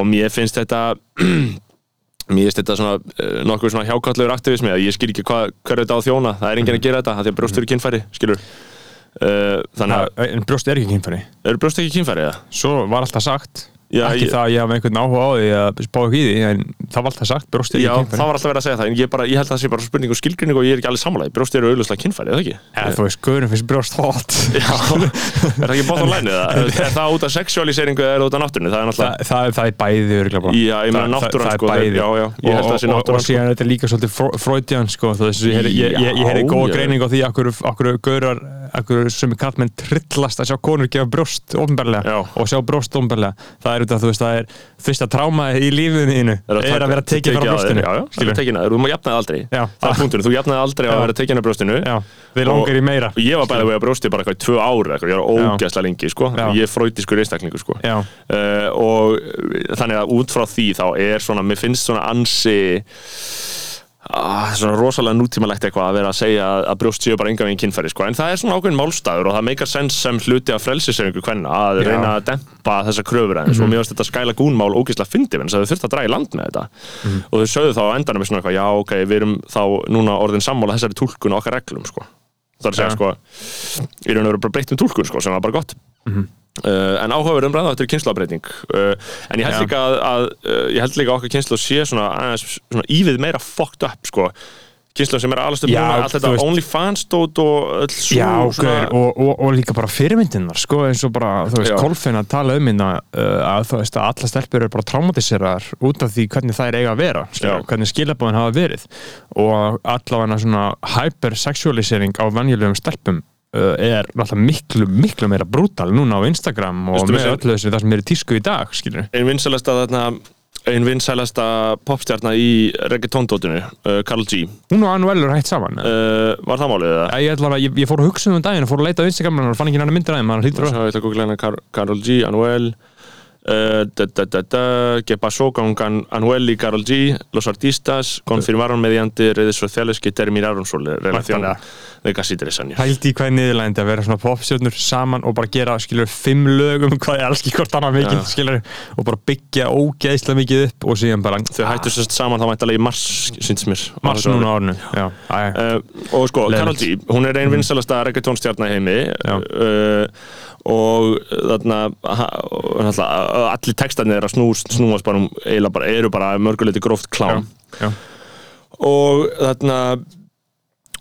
Speaker 2: og mér finnst þetta mér finnst þetta svona eh, nokkuð svona hjákallur aktivismi að ég skil ekki hvað hver þetta á að þjóna, það er enginn að gera þetta það er brjóstur í kynfæri, skilur uh, þannig að,
Speaker 1: En brjóst er ekki kynfæri
Speaker 2: eru brjóst ekki kynfæri eða?
Speaker 1: Svo var alltaf sagt
Speaker 2: Já,
Speaker 1: Ekki
Speaker 2: ég-
Speaker 1: það að ég hafa einhvern áhuga á því að spá ekki í því En það var alltaf sagt, brjóst er
Speaker 2: Já,
Speaker 1: ekki
Speaker 2: það
Speaker 1: kynfæri
Speaker 2: var alltaf verið að segja það en ég, bara, ég held að það sé bara spurning og skilgrinning og ég er ekki alveg sammálaði brjóst eru auðvitað kynfæri, eða ekki?
Speaker 1: Eða þú veist, guðurum finnst brjóst hótt
Speaker 2: Já, er það ekki bótt á lænu það? Er, er það út af sexualiseringu eða er það út af náttúrunni? Það er náttúrulega,
Speaker 1: það, það, er- það er bæði örugglega bara.
Speaker 2: Já, ég meina
Speaker 1: Það-
Speaker 2: náttúran,
Speaker 1: það,
Speaker 2: sko,
Speaker 1: það er bæði
Speaker 2: já, já, ég held að það sé
Speaker 1: Og- og-
Speaker 2: náttúran, sko.
Speaker 1: og síðan er þetta líka svolítið Fro- freudian sko, þú veist, ég heyri, ég, ég, ég heyri
Speaker 2: Já,
Speaker 1: góða
Speaker 2: já.
Speaker 1: greining á því akkur, akkur gaurar, akkur sem er kallmenn trillast að sjá konur gefa brjóst
Speaker 2: Já.
Speaker 1: ofnbarlega og sjá brjóst ofnbarlega það er út af þú veist, það er fyrsta tráma í lífinu þínu,
Speaker 2: er
Speaker 1: er að vera tekið frá
Speaker 2: tekið af þér,
Speaker 1: brjóstinu
Speaker 2: Já, já, það
Speaker 1: skilur.
Speaker 2: er tekin að þér, þú maður jafnaði aldrei
Speaker 1: Já.
Speaker 2: Það er punkturinn, þú jafnaði aldrei að
Speaker 1: Já.
Speaker 2: vera tekin af brjóstinu
Speaker 1: já, við
Speaker 2: Og-
Speaker 1: langar í meira
Speaker 2: Og ég var bæðið að brjósti bara eitthvað í tvö ára eitthvað, Ég var
Speaker 1: Já.
Speaker 2: ógæsla lengi, sko
Speaker 1: Já.
Speaker 2: Ég er fröytiskur einstaklingur, sko
Speaker 1: já,
Speaker 2: uh, og uh, þannig að út frá því þá er svona, mér finnst svona ansi Ah, svona rosalega nútímalegt eitthvað að vera að segja að- að brjóst séu bara enga veginn kynfæri sko. en það er svona ákveðin málstæður og það meikar sens sem hluti af frelsiseringu hvenna
Speaker 1: Já.
Speaker 2: að
Speaker 1: Mhm.
Speaker 2: reyna að dempa þessa kröfur aðeins og mér finnst þetta skæla gúnmál ógislega fyndi en þess að þau þurfti að draga í land með þetta
Speaker 1: Mhm.
Speaker 2: og þau sögðu þá á endanum svona eitthvað já ok, við erum þá núna orðin sammála þessari tólkun og okkar reglum sko. það er að segja
Speaker 1: Já.
Speaker 2: sko í raun og veru bara breytt um tólkun sko, sem var bara gott
Speaker 1: Mhm.
Speaker 2: uh, en áhugaverð umræða þetta er kynslabreyting uh, en ég held
Speaker 1: Já.
Speaker 2: líka að, að uh, ég held líka að okkar kynsla sé svona, aðeins, svona ívið meira fucked up sko kynsla sem er alast upp
Speaker 1: Já,
Speaker 2: núna, allt
Speaker 1: þú
Speaker 2: þetta
Speaker 1: veist-
Speaker 2: OnlyFans-dót og öll svo
Speaker 1: já gaur, og, og, og líka bara fyrirmyndinar sko, eins og bara, þú veist,
Speaker 2: Já.
Speaker 1: Kolfin að tala um hérna uh, að þú veist að alla stelpur eru bara traumatiseraðar út af því hvernig þær eiga að vera skilur,
Speaker 2: Já.
Speaker 1: hvernig skilabóðin hafa verið og allavega svona hypersexualisering á venjulegum stelpum uh, er náttúrulega miklu, miklu meira brútal núna á Instagram og
Speaker 2: Veistu
Speaker 1: með
Speaker 2: þessi-
Speaker 1: öllu þessu það sem er í tísku í dag, skilur
Speaker 2: ein vinsælasta þarna ein vinsælasta popstjarna í reggaeton-dótinu, uh, Karl G
Speaker 1: hún og Anuel eru hægt saman uh,
Speaker 2: uh, var það málið það?
Speaker 1: ég, ætla, að- ég, ég fór að hugsa um um daginn og fór að leita á Instagram og fann ekki hann myndir aðeim, hann hlýtur að
Speaker 2: Svo ég ætla að googla hérna Kar Karol G, Anuel eh, da, da, da, da, Que pasó con Can- Anuel y Karol G Los artistas confirmaron mediante redes sociales que terminaron su relación
Speaker 1: Væntanlega.
Speaker 2: de casi tres años
Speaker 1: Pældi í hvað er niðurlægandi að vera svona popstjörnur saman og bara gera, skilur, fimm lögum hvað er alls ekki hvort annað mikið,
Speaker 2: Já.
Speaker 1: skilur og bara byggja ógeðslega mikið upp og síðan bara
Speaker 2: Þau hættu sérst saman þá mæntalega í mars, syns mér
Speaker 1: mars núna á árinu Já, æ,
Speaker 2: Uh, um og sko,
Speaker 1: Leiðinlegt.
Speaker 2: Karol G, hún er ein vinsalasta reggaetónstjarna í
Speaker 1: Mm.
Speaker 2: heimi
Speaker 1: Já.
Speaker 2: uh, og þarna ha, og náttúrulega, allir textarnir þeirra snú, snúast bara um, eiginlega bara, eru bara mörguleiti gróft klám
Speaker 1: já,
Speaker 2: og þarna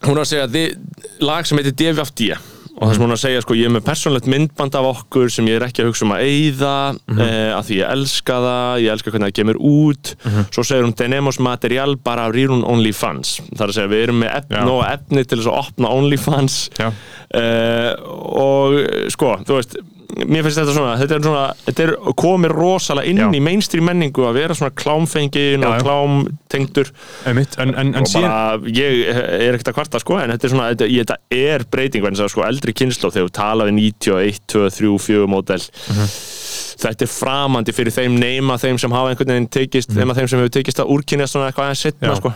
Speaker 2: hún er að segja þi- lag sem heitir DFFD E. og það sem hún er að segja sko ég er með persónlegt myndband af okkur sem ég er ekki að hugsa um að eyða
Speaker 1: Mhm.
Speaker 2: mm að því ég elska það, ég elska hvernig það kemur út
Speaker 1: Mhm.
Speaker 2: svo segir hún Denemos Material bara rýrun OnlyFans það er að segja við erum með
Speaker 1: Já.
Speaker 2: efn og efni til þess að opna OnlyFans
Speaker 1: já,
Speaker 2: uh, og eh, sko, þú veist mér finnst þetta svona, þetta er svona þetta er komið rosalega inn
Speaker 1: Já.
Speaker 2: í mainstream menningu að vera svona klámfengin
Speaker 1: Já,
Speaker 2: og
Speaker 1: já.
Speaker 2: klámtengdur
Speaker 1: einmitt en, en, en
Speaker 2: og
Speaker 1: síðan,
Speaker 2: bara, ég er ekkert að kvarta sko, en þetta er svona, þetta, ég, þetta er breyting en þess að sko, eldri kynslu þegar þú tala við 91, 2, 3, 4 módel
Speaker 1: Mhm.
Speaker 2: þetta er framandi fyrir þeim nema þeim sem hafa einhvern veginn tekist, nema þeim sem hefur tekist að úrkynja svona eitthvað aðeins setna
Speaker 1: Mhm. Já.
Speaker 2: sko.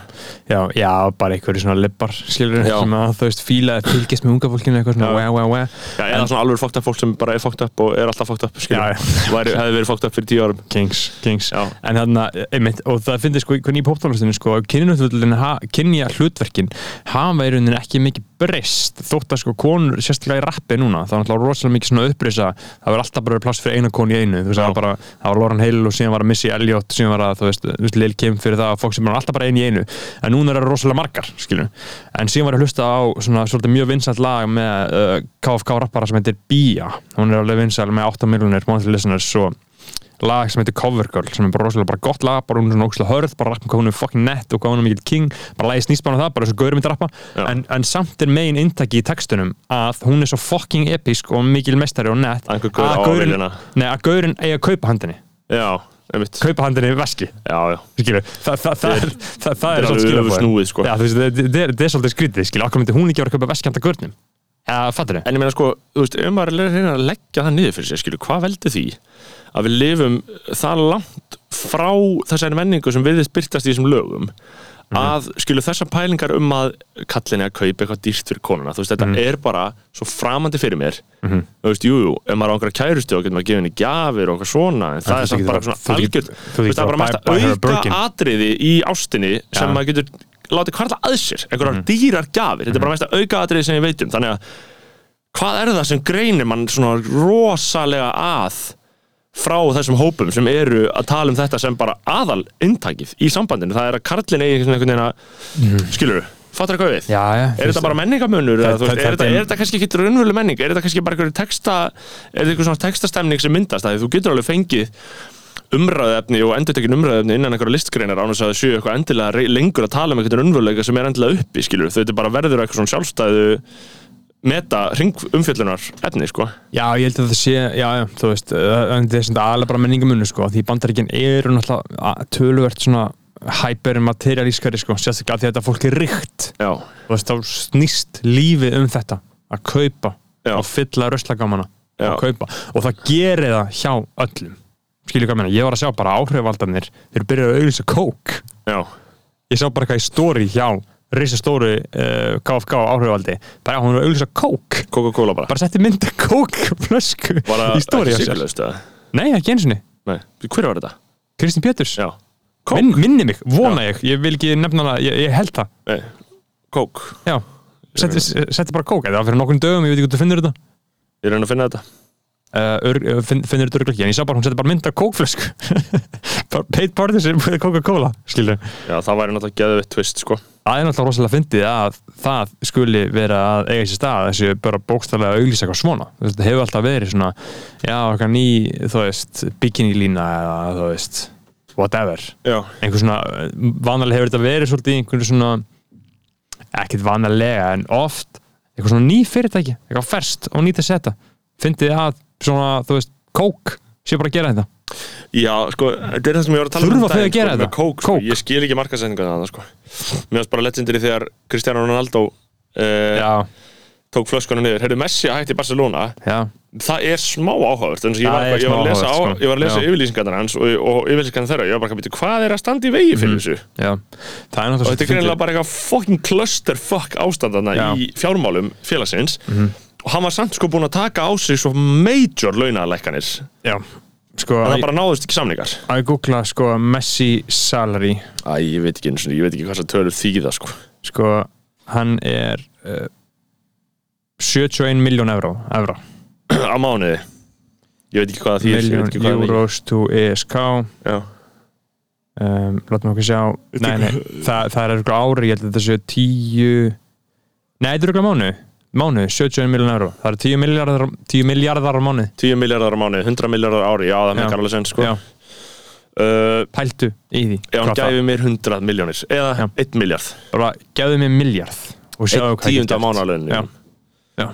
Speaker 1: já, já, bara einhverju svona lippar, skilur,
Speaker 2: Já.
Speaker 1: sem að þú veist fíla að fylgjast með unga fólkinu eitthvað svona, wea, wea, wea
Speaker 2: Já, eða svona alveg fókt upp fólk sem bara er fókt upp og er alltaf fókt upp
Speaker 1: Já, já.
Speaker 2: skilur, Væri, hefði verið fókt upp fyrir 10 árum
Speaker 1: Kings, Kings
Speaker 2: Já.
Speaker 1: en þarna, einmitt, og það finnir sko hvernig í poptónlistinu sko, kynjahlutverkin ha, kynja hlutverkin hafa í rauninni ekki mikið breyst, þótt að sko konur, sérstaklega í rappi núna, það var náttúrulega rosalega mikið svona upprisa, það var alltaf bara pláss fyrir eina konu í einu, þú veist, það var bara það var Lauren Hill og síðan var að Missy Elliot síðan var að, þú veist, þú veist, Lil Kim fyrir það fólk sem var alltaf bara einu í einu, en núna er það rosalega margar, skilju, en síðan var ég að hlusta á svona svolítið mjög vinsælt lag með uh, KFK rappara sem heitir Bia hún er alveg vinsæl með 8 miljonir monthly listeners og lag sem heitir Cover Girl sem er bara rosalega bara gott lag, bara hún er svona ógslag hörð bara rappum hvað hún er fucking nett og hvað hún er mikill king bara lagið snýst bara á það, bara eins og gauður myndi rappa
Speaker 2: Já.
Speaker 1: en, en samt er megin inntaki í textunum að hún er svo fucking episk og mikil mestari og nett
Speaker 2: Að einhver gaur á að
Speaker 1: gaurinn-
Speaker 2: vinna hana.
Speaker 1: nei, að gaurinn eigi að kaupa handinni
Speaker 2: já, einmitt
Speaker 1: kaupa handinni í veski
Speaker 2: já, já
Speaker 1: skilur, þa, þa, þa,
Speaker 2: Þetta
Speaker 1: þa,
Speaker 2: er-
Speaker 1: þa, það er
Speaker 2: er alveg
Speaker 1: svolítið skilabóðin.
Speaker 2: öfugsnúið, sko.
Speaker 1: Já, þú veist, þetta- þetta er- þetta er svolítið skrítið skilur, okkur myndi hún ekki vera að kaupa veskjanda gurnum eða fattur þið?
Speaker 2: En ég meina sko, þú veist, ef maður er að reyna að leggja það niður fyrir sér, skilju, hvað veldi því að við lifum það langt frá þessari menningu sem við byrtast í þessum lögum að skilu þessar pælingar um að kallinni að kaupa eitthvað dýrt fyrir konuna þú veist, þetta er bara svo framandi fyrir mér þú veist, jú, jú, ef maður á einhverja kærustu og getur maður að gefa henni gjafir og eitthvað svona en
Speaker 1: þú
Speaker 2: það, er samt
Speaker 1: getur
Speaker 2: bara
Speaker 1: bara-
Speaker 2: svona
Speaker 1: þú getur-
Speaker 2: algjörn
Speaker 1: þú
Speaker 2: þú
Speaker 1: getur
Speaker 2: veist, það er bara
Speaker 1: bara buy-
Speaker 2: mest
Speaker 1: buy her a
Speaker 2: auka
Speaker 1: Birkin.
Speaker 2: atriði í ástinni sem
Speaker 1: Já.
Speaker 2: maður getur látið hvarla að sér einhverjar dýrar gjafir, þetta er bara mest auka atriði sem ég veit um, þannig að hvað er það sem greinir mann svona rosalega að frá þessum hópum sem eru að tala um þetta sem bara aðal intakið í sambandinu, það er að karlin eigi einhvern veginn að, skilur fattar hvað við?
Speaker 1: Já, já,
Speaker 2: Er þetta bara menningamunur? eða,
Speaker 1: Það-
Speaker 2: þú veist,
Speaker 1: það-
Speaker 2: Er
Speaker 1: þetta
Speaker 2: þetta
Speaker 1: er-
Speaker 2: er þetta kannski ekki raunvölu menning? Er þetta kannski bara einhverju texta er þetta einhver svona textastemning sem myndast að þú getur alveg fengið umræðefni og endurtekin umræðefni innan einhverja listgreinar án þess að það séu eitthvað endilega rey- lengur að tala um einhvern raunvöleika sem er endilega uppi skilur þau þetta bara verður eitthvað svona sjálfstæðu meta ringumfjöllunar efni sko
Speaker 1: Já, ég held að það sé, já, já, þú veist uh, en það er svona aðlega bara menningamunni, sko því bandaríkinn eru náttúrulega a- töluvert svona hypermaterialískari, sko sérstaklega af því að þetta fólk er ríkt
Speaker 2: Já,
Speaker 1: þú veist, þá snýst lífið um þetta að kaupa
Speaker 2: Já.
Speaker 1: og fylla röslagamana
Speaker 2: Já.
Speaker 1: og kaupa og það gerir það hjá öllum skilju hvað ég meina, ég var að sjá bara áhrifaldarnir þeir byrjaði að auðvisa kók
Speaker 2: já,
Speaker 1: ég sá bara eitthvað í stóri hjá risastóru uh, KFK áhrifaldi bara hún var að auðvisa kók
Speaker 2: Coca-Cola bara
Speaker 1: bara setti mynda kókflösku
Speaker 2: Bara
Speaker 1: í stóri
Speaker 2: ekki
Speaker 1: hjá sér
Speaker 2: sykurlaust, eða?
Speaker 1: nei, ekki eins og niður,
Speaker 2: Nei, hver var þetta?
Speaker 1: Kristín Péturs
Speaker 2: Já,
Speaker 1: Minn, minni mig, vona ég, ég vil ekki nefna hana ég, ég held það,
Speaker 2: nei, kók
Speaker 1: já setti, setti bara kók, það var fyrir nokkrum dögum ég veit ekki hvað þú finnur þetta
Speaker 2: Ég reyna að finna þetta
Speaker 1: uh, ör, uh, finn, finnur þetta örgleiki en ég sá bara hún setur bara mynd af kókflösku Bara paid partisan with Coca-Cola skilur
Speaker 2: Já, það væri náttúrulega geðveitt twist sko
Speaker 1: það er náttúrulega rosalega fyndið að það skuli vera að eiga sér stað þessi bara bókstaflega að auglýsa eitthvað svona Þú veist, þetta hefur alltaf verið svona já, eitthvað ný, þú veist, bikinilína eða þú veist, whatever
Speaker 2: Já,
Speaker 1: einhver svona, vanalega hefur þetta verið svolítið í einhverju svona ekkert vanalega en oft eitthvað svona ný fyrirtæki, eitthvað ferst og nýtt að setja, fyndið að svona, þú veist, kók sé bara að gera þetta
Speaker 2: Já, sko, þetta er það sem ég var að tala
Speaker 1: Þurfa
Speaker 2: um
Speaker 1: þau að gera
Speaker 2: sko,
Speaker 1: þetta?
Speaker 2: með Kók, sko,
Speaker 1: Kók.
Speaker 2: ég skil ekki markasendinga það, sko Mér varst bara legendary þegar Cristiano Ronaldo uh,
Speaker 1: já,
Speaker 2: tók flöskunum niður Heyrðu, Messi hætti í Barcelona
Speaker 1: já,
Speaker 2: Það er smá áhugavert þannig að ég,
Speaker 1: Það
Speaker 2: var
Speaker 1: er
Speaker 2: eitthvað- ég var
Speaker 1: smá
Speaker 2: að lesa, á,
Speaker 1: áhugavert, sko.
Speaker 2: ég var að lesa
Speaker 1: Já.
Speaker 2: yfirlýsingarnar hans og, og yfirlýsingarnar þeirra Ég var bara að býta, hvað er að standa í vegi fyrir
Speaker 1: Mhm.
Speaker 2: þessu?
Speaker 1: já það er
Speaker 2: og þetta er
Speaker 1: náttúrulega
Speaker 2: greinilega bara eitthvað fucking clusterfuck ástandana
Speaker 1: Já. Mhm.
Speaker 2: í fjármálum félagsins og hann var samt sko búin að taka á sig svo major launalækkanir
Speaker 1: já, sko,
Speaker 2: en það
Speaker 1: að
Speaker 2: bara náðust ekki samningar
Speaker 1: að googla sko Messi salary
Speaker 2: Æ, ég veit ekki, einu sinni, ég veit ekki hvað það tölur þýða sko
Speaker 1: sko, hann er uh, 71 miljón evró, evró
Speaker 2: á mánuði ég veit ekki hvað það þýðir ég veit
Speaker 1: miljón
Speaker 2: ekki hvað það þýðir.
Speaker 1: euros to E ESK
Speaker 2: Já.
Speaker 1: um, látum okkur sjá nei, nei, það, það er eitthvað ári, ég held að þetta séu 10 nei, þetta er eitthvað mánu mánu, 71 miljón evró það eru 10 miljardar, 10 miljardar á mánu
Speaker 2: 10 miljardar á mánuði, 100 miljardar á ári já, það
Speaker 1: Já.
Speaker 2: mekkar alveg sens sko
Speaker 1: já,
Speaker 2: já. Uh,
Speaker 1: pæltu í því
Speaker 2: já, hann
Speaker 1: Hvað það-
Speaker 2: gæfi mér 100 miljónir
Speaker 1: Já.
Speaker 2: eða 1 miljard
Speaker 1: bara gefðu mér miljard og sjáðu
Speaker 2: Einn
Speaker 1: hvað ég get
Speaker 2: tíund af
Speaker 1: gert.
Speaker 2: mánuðalöginu
Speaker 1: Já. Já.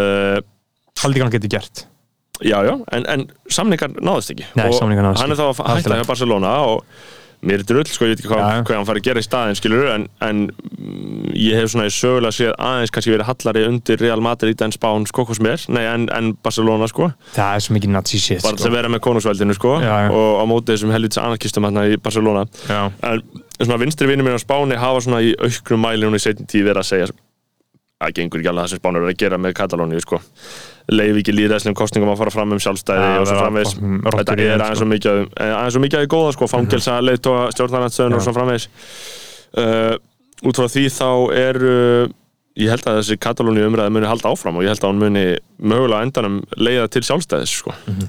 Speaker 2: uh,
Speaker 1: haldið hann getur gert
Speaker 2: Já, já, en, en samningar náðist ekki
Speaker 1: Nei,
Speaker 2: og
Speaker 1: samningar náðust
Speaker 2: Hann er
Speaker 1: ekki.
Speaker 2: þá
Speaker 1: Allt
Speaker 2: að
Speaker 1: í
Speaker 2: hætta
Speaker 1: lagi.
Speaker 2: hjá Barcelona og mér er drull, sko, ég veit ekki hvað,
Speaker 1: Já, já.
Speaker 2: hvað hann fari að gera í staðin, skilur en, en mm, ég hef svona í sögulega séð aðeins kannski verið hallari undir Real Madrid en Spán, sko, hvers mér, nei, en, en Barcelona, sko,
Speaker 1: það er svo mikið nazi shit
Speaker 2: bara til að vera með konungsveldinu, sko
Speaker 1: Sko. Já, já.
Speaker 2: og á móti þessum helvits anarkistum hérna í Barcelona
Speaker 1: já,
Speaker 2: en svona vinstri vinnum minn á Spáni hafa svona í auknum mæli núna í setjum tíð verið að segja að gengur ekki alveg það sem Spánur er að gera með Katalóníu sko. leif ekki líðræðslegum kostningum að fara fram um sjálfstæði
Speaker 1: Já,
Speaker 2: og svo
Speaker 1: vera
Speaker 2: framvegis
Speaker 1: fucking rottur
Speaker 2: þetta
Speaker 1: í þeim,
Speaker 2: er aðeins
Speaker 1: sko. Mhm.
Speaker 2: og mikið af- eh, aðeins og mikið að því góða sko, fangelsa, mm -hmm. leiðtóa, stjórnarnarstöðun
Speaker 1: Já.
Speaker 2: og svo framvegis uh, út frá því þá er uh, ég held að þessi Katalóníu umræði muni halda áfram og ég held að hún muni mögulega á endanum leiða til sjálfstæðis sko.
Speaker 1: Mhm.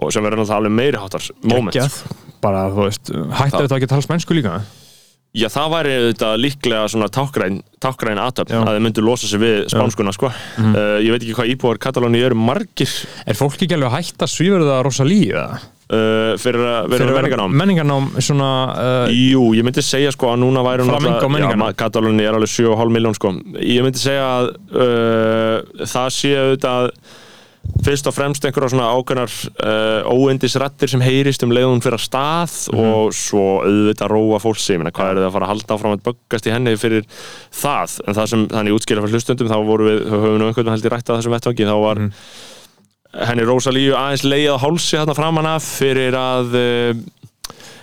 Speaker 2: og sem verður náttúrulega alveg meiri háttar moment
Speaker 1: geggjað bara þú veist, hættu
Speaker 2: Það-
Speaker 1: þetta ekki að tala spænsku líka
Speaker 2: Já, það væri þetta líklega svona tákgræn, tákgræn aðtöfn
Speaker 1: Já.
Speaker 2: að þið myndu losa sig við spánskuna, sko. Uh, ég veit ekki hvað íbúar Katalóni eru margir
Speaker 1: er fólk ekki alveg að hætta svíverða rosa líða
Speaker 2: uh, fyrir að vera með menningarnám.
Speaker 1: menningarnám svona uh,
Speaker 2: Jú, ég myndi segja sko að núna væri hún
Speaker 1: Flamenco
Speaker 2: náttúrulega-
Speaker 1: menningarnám.
Speaker 2: Já, ma- Katalóni er alveg 7,5 miljón sko. Ég myndi segja að uh, það sé auðvitað fyrst og fremst einhverja svona ákveðnar uh, óendisrættir sem heyrist um leiðum fyrir að stað
Speaker 1: Mhm.
Speaker 2: og svo auðvitað róa fólks ég meina hvað eru þið að fara að halda áfram að böggast í henni fyrir það, en það sem þannig útskýra fyrir hlustundum þá voru við, þá höfum við nú einhvern veginn held í rætta þessum vettvangi, þá var
Speaker 1: Mhm.
Speaker 2: henni Rósalíu aðeins leið á hálsi þarna framan af fyrir að uh,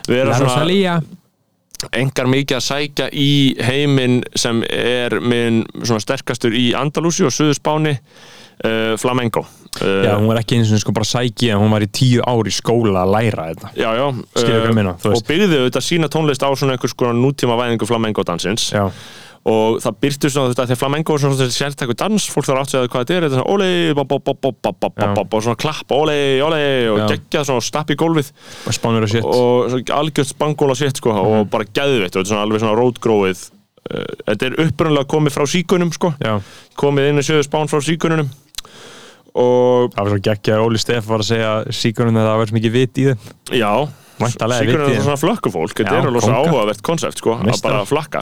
Speaker 2: vera
Speaker 1: La
Speaker 2: svona
Speaker 1: Rosalía
Speaker 2: engar mikið að sækja í heiminn sem er minn svona sterkastur í Andalúsi og Suður Spáni uh, Flamengo
Speaker 1: Já,
Speaker 2: uh,
Speaker 1: hún var ekki eins og sko bara sækið en hún var í tíu ár í skóla að læra þetta
Speaker 2: Já, já,
Speaker 1: Skilur hvað ég meina, þú
Speaker 2: og
Speaker 1: veist.
Speaker 2: byggði auðvitað sína tónlist á svona einhvers konar nútíma væðingu flamenco dansins
Speaker 1: Já,
Speaker 2: og það byrtu svona þetta þegar flamenco er svona þessi sértakur dans fólk þarf átt að segja hvað þetta er, þetta er svona olei bop, bop, bop, bop, bop, bop,
Speaker 1: Já.
Speaker 2: bop, bop, og svona klapp, olei, olei og
Speaker 1: Já.
Speaker 2: geggjað svona stapp í gólfið
Speaker 1: og spánur og shit
Speaker 2: og svona algjört spangóla sétt sko,
Speaker 1: Mhm.
Speaker 2: og bara geðveitt, og þetta er svona alveg svona rótgróið Eh, þetta er upprunalega komið frá síkunum sko.
Speaker 1: Já,
Speaker 2: komið inn í sjöðu spán frá síkununum og
Speaker 1: það var svo geggja að Óli Steff var að segja síkunum að það var svo mikið vit í þeim
Speaker 2: já
Speaker 1: Væntanlega
Speaker 2: síkunum
Speaker 1: viti
Speaker 2: er
Speaker 1: ég.
Speaker 2: svona flökkufólk, þetta
Speaker 1: Já,
Speaker 2: er alveg svo
Speaker 1: kongar.
Speaker 2: áhugavert konsept sko, að
Speaker 1: Meistarar.
Speaker 2: bara flakka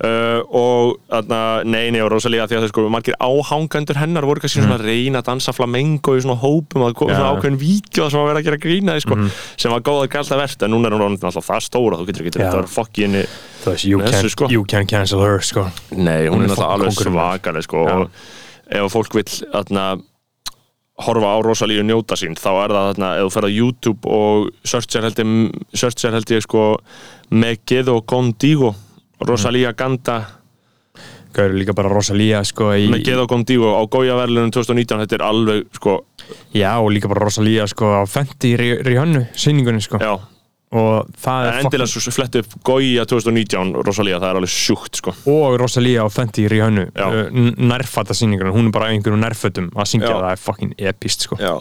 Speaker 2: uh, og þarna, nei, nei, og rosalega því að það sko, margir áhangandur hennar voru kannski svona að reyna að dansa flamenco í svona hópum að
Speaker 1: Mhm.
Speaker 2: koma
Speaker 1: Já. Mhm.
Speaker 2: svona ákveðin víkjóð sem að vera að gera grína því, sko, sem var góða gælda verst en núna er hún orðin alltaf það stóra, þú getur ekki
Speaker 1: Já.
Speaker 2: þetta var fokkinni
Speaker 1: Þú veist, you,
Speaker 2: Þessu,
Speaker 1: can,
Speaker 2: sko.
Speaker 1: you can cancel her sko
Speaker 2: Nei, hún,
Speaker 1: Hún
Speaker 2: er
Speaker 1: er
Speaker 2: náttúrulega alveg
Speaker 1: kóngurinn.
Speaker 2: svakaleg sko,
Speaker 1: Já.
Speaker 2: og ef að fólk vill þarna, horfa á Rosalíu njóta sín þá er það þarna, ef þú ferð á YouTube og searchar held ég, searchar held ég sko, Megiddo Condigo Rosalía Ganda
Speaker 1: Gauður líka bara Rosalía sko í,
Speaker 2: Megiddo Condigo á Gója verðlunum 2019 þetta er alveg sko,
Speaker 1: Já, og líka bara Rosalía sko á Fenty Ri- Rihannu sýningunni sko
Speaker 2: já,
Speaker 1: og það er
Speaker 2: endilega svo flettu upp Gója 2019 Rosalía, það er alveg sjúkt sko.
Speaker 1: og Rosalía og Fenty Rihannu
Speaker 2: Já.
Speaker 1: nærfata sýningunni, hún er bara á einhverjum nærfötum að syngja,
Speaker 2: Já.
Speaker 1: það er fucking epist sko
Speaker 2: já.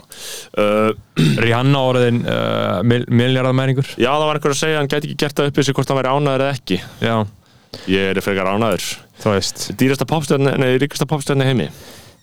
Speaker 2: Uh,
Speaker 1: Rihanna orðin uh, miljardamæringur
Speaker 2: já, það var einhver að segja að hann gæti ekki gert það upp í sig hvort hann væri ánæður eða ekki
Speaker 1: Já,
Speaker 2: ég er frekar ánæður
Speaker 1: þú veist
Speaker 2: dýrasta popstjarni, nei, ríkasta popstjarni heimi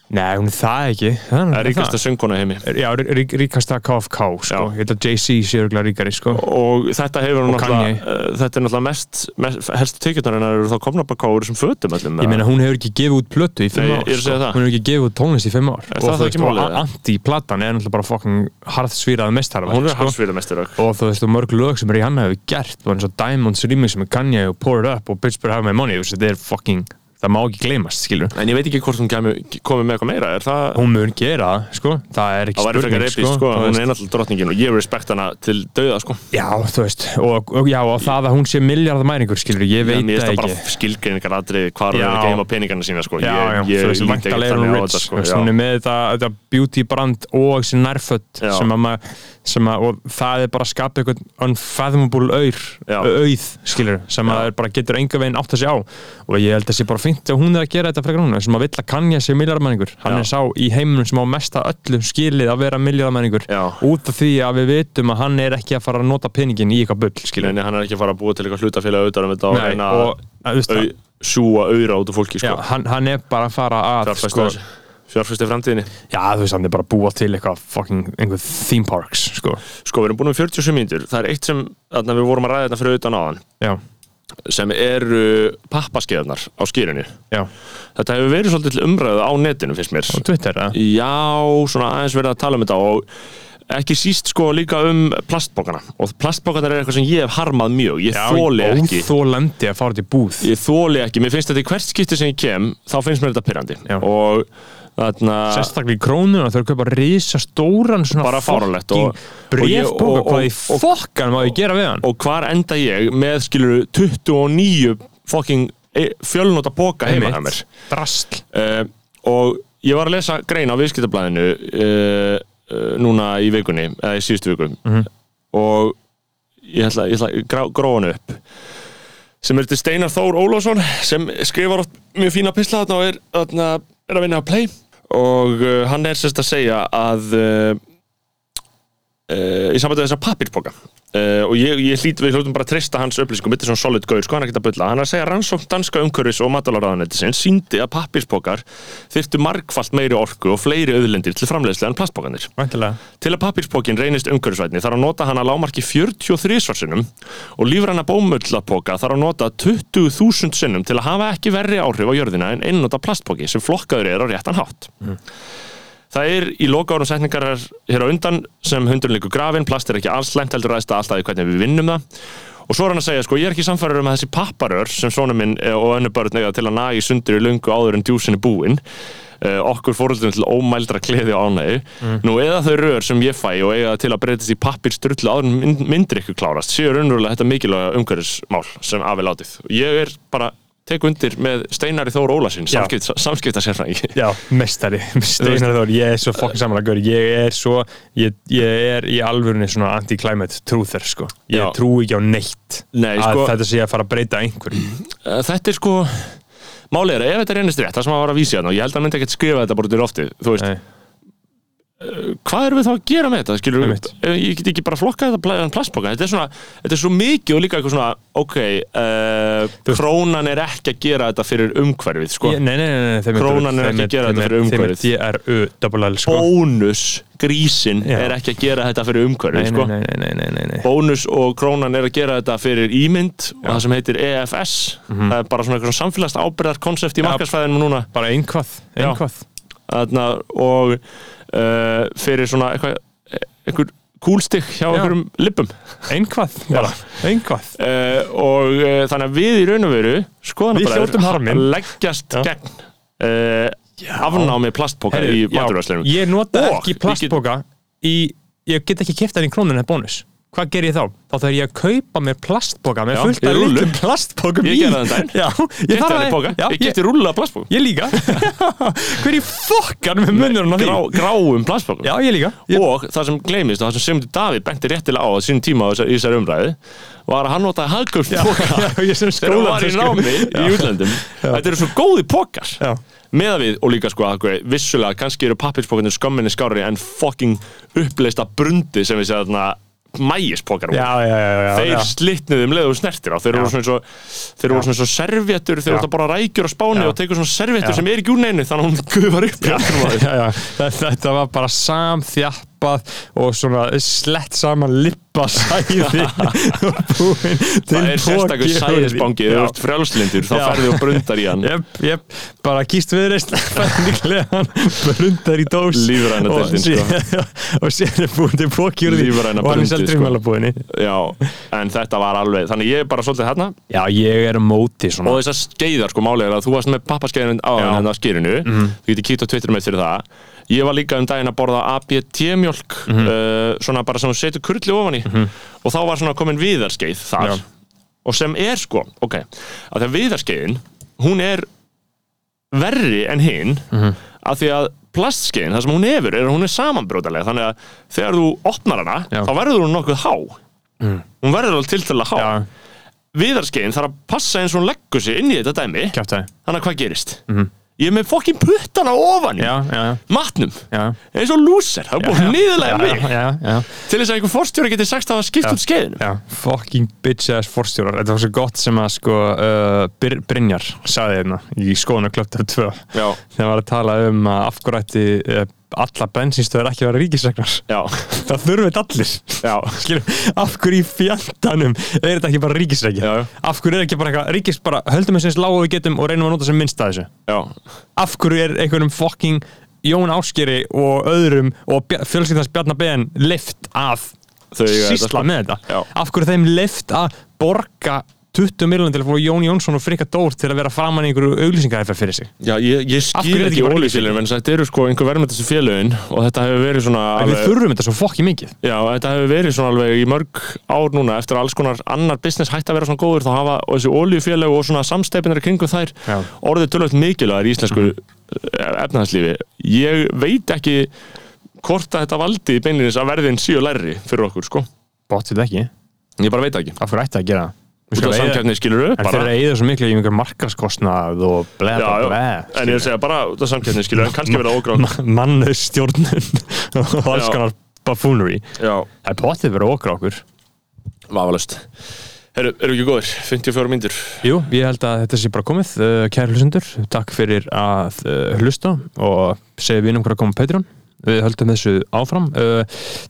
Speaker 1: Nei, hún er það ekki Það
Speaker 2: eða ríkasta
Speaker 1: það.
Speaker 2: söngkona heimi
Speaker 1: Já, rí- rí- ríkasta KFK sko.
Speaker 2: Já.
Speaker 1: Ég held að Jay-Z sé örgulega ríkari sko.
Speaker 2: og þetta hefur hún
Speaker 1: Og
Speaker 2: náttúrulega eh, þetta er náttúrulega mest, mest helstu tekjurnar hennar eru þá komna bara hvað úr þessum fötum öllum
Speaker 1: Ég meina, hún hefur ekki gefið út plötu í fimm
Speaker 2: Nei, ég-
Speaker 1: ár sko.
Speaker 2: ég er að segja það.
Speaker 1: Hún hefur ekki gefið út tónlist í fimm ár
Speaker 2: Er það
Speaker 1: Og
Speaker 2: það
Speaker 1: þú veist,
Speaker 2: ekki
Speaker 1: og
Speaker 2: málið, eða?
Speaker 1: anti-platan er náttúrulega bara fucking harðsvýrað mestarverk
Speaker 2: hún er
Speaker 1: sko.
Speaker 2: hansfýrðamestur
Speaker 1: Og þú veist, og mörg lög sem Rihanna hefur gert og eins og Diamonds Remix sem er Kanye og Pour It Up og Pittsburgh Have My Money þú veist, Þetta er fucking, það má ekki gleymast, skilur
Speaker 2: en ég veit ekki hvort hún kæmi, komið með eitthvað meira er það,
Speaker 1: Hún mun gera, það, sko, það er ekki
Speaker 2: það væri frekar
Speaker 1: spurning,
Speaker 2: repist sko,
Speaker 1: Þú
Speaker 2: hún
Speaker 1: veist.
Speaker 2: er náttúrulega drottningin og ég respekt hana til dauða sko
Speaker 1: Já, þú veist, og, og, já, og það að hún sé miljardamæringur, skilur, ég
Speaker 2: Ég
Speaker 1: veit það
Speaker 2: mér finnst það
Speaker 1: ekki.
Speaker 2: bara skilgreiningar aðrið hvað hún er
Speaker 1: Já.
Speaker 2: að geima peningana sína sko.
Speaker 1: Já,
Speaker 2: ég,
Speaker 1: já,
Speaker 2: ég,
Speaker 1: þú veist,
Speaker 2: lít ekkert
Speaker 1: vantarlega er hún
Speaker 2: þannig á
Speaker 1: rich,
Speaker 2: þetta,
Speaker 1: sko, veist, hún er með þetta, þetta beauty brand og þessi nærfött
Speaker 2: Já.
Speaker 1: sem að maður, sem að, og það er bara að skapa eitthvað unfathomable auð,
Speaker 2: Já.
Speaker 1: auð, skilur, sem að
Speaker 2: Já.
Speaker 1: er bara getur enga veginn átt að sé á og ég held að sé bara fint að hún er að gera þetta frekar hún, sem að vill að kannja sé miljardamæringur, hann
Speaker 2: Já.
Speaker 1: er sá í heiminum sem á mesta öllu skilið að vera miljardamæringur
Speaker 2: Já.
Speaker 1: út af því að við vitum að hann er ekki að fara að nota peningin í eitthvað bull, skilur.
Speaker 2: Nei, hann er ekki að fara að búa til eitthvað hlutafélag auðvitað um þetta og
Speaker 1: Nei,
Speaker 2: reyna
Speaker 1: og, að, veist,
Speaker 2: að au- sjúga auðra út af fólki sko.
Speaker 1: Já, hann, hann er bara að fara að sko,
Speaker 2: fjárfæstu fjárfæstu framtíðinni
Speaker 1: Já, þú veist, hann er bara að búa til eitthvað fucking, einhver theme parks sko.
Speaker 2: sko við erum búin um 47 mínútur það er eitt sem þarna, við vorum að ræða þetta fyrir utan áðan
Speaker 1: Já,
Speaker 2: sem eru pappaskeðnar á skýrinu
Speaker 1: já
Speaker 2: þetta hefur verið svolítið til umræðu á netinu finnst mér
Speaker 1: Og Twitter, eða?
Speaker 2: já svona aðeins verið að tala um þetta og ekki síst sko líka um plastbókana og plastbókana er eitthvað sem ég hef harmað mjög ég þóli ekki
Speaker 1: Óþólandi að fara þetta í búð
Speaker 2: ég þóli ekki, mér finnst þetta í hvert skipti sem ég kem þá finnst mér þetta pyrrandi
Speaker 1: Já.
Speaker 2: og þarna
Speaker 1: Sérstaklega í krónuna, þau eru að kaupa risa stóran svona
Speaker 2: Bara fáránlegt og- og
Speaker 1: Brefbóka,
Speaker 2: ég- og-
Speaker 1: hvað í
Speaker 2: og-
Speaker 1: fokkan má ég gera við hann?
Speaker 2: og hvar enda ég með skilur 29 fucking e- fjölnóta póka heima hjá mér
Speaker 1: Drastl
Speaker 2: uh, og ég var að lesa grein á viðskiptablaðinu uh, uh, núna í vikunni eða í síðustu viku og ég ætla, ég ætla að grá, gróa hann upp sem er til Steinar Þór Ólásson sem skrifar oft mjög fína pisla þarna og er, þarna, er að vinna að play og uh, hann er sérst að segja að uh, uh, í sambandi við þessa pappirpoka uh, og ég, ég hlýt við hljóttum bara að treysta hans upplýsingum þetta er svona solid gaur, sko hann er ekkert að bulla hann er að segja að rannsókn danska umhverfis og mataláraðanetisins síndi að pappirpokar þyrftu margfalt meiri orku og fleiri auðlendir til framleiðslega en plastpokanir
Speaker 1: Væntilega
Speaker 2: Til að pappirspokin reynist umhverfisvætni þarf að nota hann að lámarki 43 svarsinnum og lífræna bómullapoka þarf að nota 20.000 sinnum til að hafa ekki verri áhrif á jörðina en einnota plastpoki sem flokkaður er á réttan hátt. Það er í loka árum setningar hér á undan sem hundurinn liggur grafin, plast er ekki alls slæmt heldur ræðst að alltaf í hvernig við vinnum það. Og svo er hann að segja, sko, ég er ekki samfæður um að þessi papparör sem svona minn eh, og önnu börn eiga til að naga í sundur í lungu áður en djúsin er búinn uh, okkur fóröldum til ómældra kleði og ánægju nú eða þau rör sem ég fæ og eiga það til að breytast í pappir styrlu áður mynd, myndir ykkur klárast séu raunverulega þetta mikilvæga umhverfismál sem afi látið ég er bara tek undir með Steinari Þór Ólasinn
Speaker 1: Já.
Speaker 2: samskipta, samskipta sérfræðingi
Speaker 1: Já, mestari, steinar þór, ég er svo fokkin samanlega ég er svo, ég, ég er í alvörunni svona anti-climate trúþer sko, ég
Speaker 2: Já.
Speaker 1: trú ekki á neitt
Speaker 2: Nei,
Speaker 1: að
Speaker 2: sko-
Speaker 1: þetta sé að fara að breyta einhverju
Speaker 2: Eh, þetta er sko málið er að ef þetta reynist rétt, það sem að var að vísi hérna og ég held að hann myndi ekkert skrifa þetta bara út í loftið þú veist,
Speaker 1: Nei.
Speaker 2: hvað erum við þá að gera með þetta skilur við,
Speaker 1: Einmitt.
Speaker 2: ég get ekki bara flokkað þetta pla- plastpoka, þetta er svona, þetta er svo mikið og líka eitthvað svona, ok uh, krónan er ekki að gera þetta fyrir umhverfið, sko,
Speaker 1: Ég- Nei, nei, nei, nei þeim
Speaker 2: Krónan er ekki að gera þetta fyrir umhverfið.
Speaker 1: Þeim er DRU-double-L sko
Speaker 2: bónus grísin
Speaker 1: Já.
Speaker 2: er ekki að gera þetta fyrir umhverfið,
Speaker 1: nei,
Speaker 2: sko
Speaker 1: nei, nei, nei, nei, nei, nei.
Speaker 2: bónus og krónan er að gera þetta fyrir ímynd og það sem heitir EFS það er bara svona eitthvað samfélagst ábyrðar konsept
Speaker 1: Mhm.
Speaker 2: í
Speaker 1: Já.
Speaker 2: markarsfæðinu núna
Speaker 1: Bara einhvað,
Speaker 2: Já.
Speaker 1: einhvað
Speaker 2: þarna, og uh, fyrir svona eitthvað einhver kúlstikk hjá einhverjum lippum
Speaker 1: Einhvað, bara, einhvað
Speaker 2: uh, og uh, þannig að við í raun og veru skoðan
Speaker 1: Við hljótum harminn.
Speaker 2: leggjast
Speaker 1: Já.
Speaker 2: gegn uh, afnámi plastpoka
Speaker 1: Heyrðu,
Speaker 2: í maturvæslinum
Speaker 1: Ég nota
Speaker 2: Og
Speaker 1: ekki
Speaker 2: ég get-
Speaker 1: plastboka í, ég get ekki kipta í krónun eða bónus Hvað ger ég þá? Þá þarf ég að kaupa mér plastboka með
Speaker 2: Já,
Speaker 1: fullt
Speaker 2: í
Speaker 1: af
Speaker 2: rúllum.
Speaker 1: litlum plastbokum
Speaker 2: Ég
Speaker 1: í.
Speaker 2: gerði það um daginn.
Speaker 1: Já, ég
Speaker 2: Keypti
Speaker 1: þarf
Speaker 2: hann í
Speaker 1: að
Speaker 2: poka.
Speaker 1: já,
Speaker 2: ég geti rúla plastpoka
Speaker 1: ég líka Hver í fokkan með munnurinn á því?
Speaker 2: Grá, gráum plastpoka
Speaker 1: Já, ég líka ég,
Speaker 2: og það sem gleymist og það sem Sigmundur Davíð benti réttilega á að sínum tíma á þessar- í þessari umræðu var að hann notaði hagkaup
Speaker 1: já, ég sem sko.
Speaker 2: þegar hún
Speaker 1: skóla
Speaker 2: var í námi í útlöndum þetta eru svo góði pokar
Speaker 1: Já.
Speaker 2: meða við og líka sko að vissulega kannski eru pappirspokarnir skömminni skárri en fucking uppleista brundi sem við segja þarna mægispokar voru.
Speaker 1: Já, já, já, já,
Speaker 2: þeir
Speaker 1: já.
Speaker 2: slitnuðu um leið og þú snertir á þeir voru svona eins og þeir voru svona eins og servjettur þeir
Speaker 1: Já.
Speaker 2: voru þetta bara rækjur á spáni
Speaker 1: Já.
Speaker 2: og tekur svona servjettur
Speaker 1: Já.
Speaker 2: sem er ekki úr neinu þannig að hún gufar upp í aftur maður.
Speaker 1: já, já, þa- þetta var bara samþjappað og svona slett saman lippasæði og búinn til
Speaker 2: það er sérstakur
Speaker 1: poki úr því.
Speaker 2: sæðisbangi
Speaker 1: Já.
Speaker 2: þegar þú ert frjálslindur þá
Speaker 1: Já.
Speaker 2: ferðu og brundar í hann
Speaker 1: Jep, jep, bara kýst viðreist fændiklegan, brundar í dós
Speaker 2: Lífræna
Speaker 1: og
Speaker 2: deildin, sko.
Speaker 1: síðan- og sér er búin til bóki úr því
Speaker 2: Lífræna
Speaker 1: og hann er
Speaker 2: brundið,
Speaker 1: seldur
Speaker 2: sko.
Speaker 1: í mælabúðinni
Speaker 2: já, en þetta var alveg þannig ég er bara svolítið hérna
Speaker 1: Já, ég er á móti
Speaker 2: og
Speaker 1: svona
Speaker 2: þessar skeiðar sko málið er að þú varst með pappaskeiðinu á
Speaker 1: Já. Mhm.
Speaker 2: hann að skýrinu þú getur kýtt á Twitter með fyrir það ég var líka um daginn að borða ABT mjölk
Speaker 1: Mhm.
Speaker 2: uh, svona bara sem þú setur kurli ofan í og þá var svona komin viðarskeið þar
Speaker 1: Já.
Speaker 2: og sem er sko ok, að því að viðarskeiðin hún er verri en hinn
Speaker 1: Mhm.
Speaker 2: að því að plastskeiðin, það sem hún hefur er að hún er samanbrótalega, þannig að þegar þú opnar hana,
Speaker 1: Já. Mhm.
Speaker 2: þá verður hún nokkuð há hún verður alveg tiltölulega há
Speaker 1: Já,
Speaker 2: viðarskeiðin þarf að passa eins og hún leggur sig inn í þetta dæmi
Speaker 1: kjáftæði
Speaker 2: þannig að hvað gerist ég er með fokkin puttana ofan í
Speaker 1: Mhm. Já, já,
Speaker 2: matnum
Speaker 1: já
Speaker 2: eins og lúser, það er búin niðurlega mig
Speaker 1: Já, já, já
Speaker 2: til þess að einhver forstjóri geti sagt að það skipt út skeiðinu
Speaker 1: Já, fucking bitch ass forstjórar Þetta var svo gott sem að sko uh, Bir Brynjar saði hérna í skoðuna klöptar 2
Speaker 2: já,
Speaker 1: þegar var að tala um að af hverju ætti uh, alla bensinstöður ekki að vera ríkisregnar
Speaker 2: já,
Speaker 1: Það þurfið þetta allir
Speaker 2: já
Speaker 1: Skilum, af hverju í fjandanum er þetta ekki bara ríkisregja?
Speaker 2: Já, já.
Speaker 1: Af hverju er ekki bara eitthvað ríkis bara höldum þessu eins lág og við getum og reynum að nota sem minnst að þessu?
Speaker 2: já,
Speaker 1: af hverju er einhverjum fucking Jón Áskeri og öðrum og Bja- fjölskyldans Bjarnar BN lift að
Speaker 2: Þau eiga þetta,
Speaker 1: sýsla
Speaker 2: sko.
Speaker 1: með þetta
Speaker 2: Já.
Speaker 1: af hverju þeim lift að borga 20 miljonum til að fá Jón Jónsson og Frikka Dór til að vera framan í einhverju auglýsingarefja fyrir sig
Speaker 2: já ég, ég
Speaker 1: Af hverju
Speaker 2: skil
Speaker 1: er
Speaker 2: ekki
Speaker 1: þetta ekki
Speaker 2: ólýsfélagin en þetta eru sko einhver verðmyndastu félagin og þetta hefur verið svona
Speaker 1: en við
Speaker 2: alveg-
Speaker 1: þurfum þetta svo fokki mikið
Speaker 2: Já, þetta hefur verið svona alveg í mörg ár núna eftir að alls konar annar business hætti að vera svona góður þá hafa og þessi oljufélög og svona samsteipinar í kringum þær
Speaker 1: Já. Mhm.
Speaker 2: orðið tölvöld mikilvægir í íslensku mm. efnahagslífi. Ég veit ekki hvort að þetta valdi í beinlinis að verðin síu læri fyrir okkur, sko.
Speaker 1: bótt þetta ekki,
Speaker 2: Ég bara veit það ekki.
Speaker 1: af hverju ætti að gera það Við
Speaker 2: Út
Speaker 1: skulum
Speaker 2: af
Speaker 1: eyða-
Speaker 2: samkeppni skilur upp
Speaker 1: en þeir
Speaker 2: bara.
Speaker 1: eru að eyða svo miklu í einhverjum markaskostnað og bleð
Speaker 2: Já, já,
Speaker 1: og
Speaker 2: en ég segja bara út af samkeppni skilur upp, kannski verða ógráð.
Speaker 1: bleð mannustjórnun og alls
Speaker 2: Já.
Speaker 1: konar buffoonery
Speaker 2: Já,
Speaker 1: það er bóttið verið okkur okkur
Speaker 2: vafalust. Herru, eru ekki góðir? 54 myndir.
Speaker 1: Jú, ég held að þetta sé bara komið, uh, kæri hlustendur. Takk fyrir að uh, hlusta og segja vinum hvað að koma á Patreon. Við höldum þessu áfram. Uh,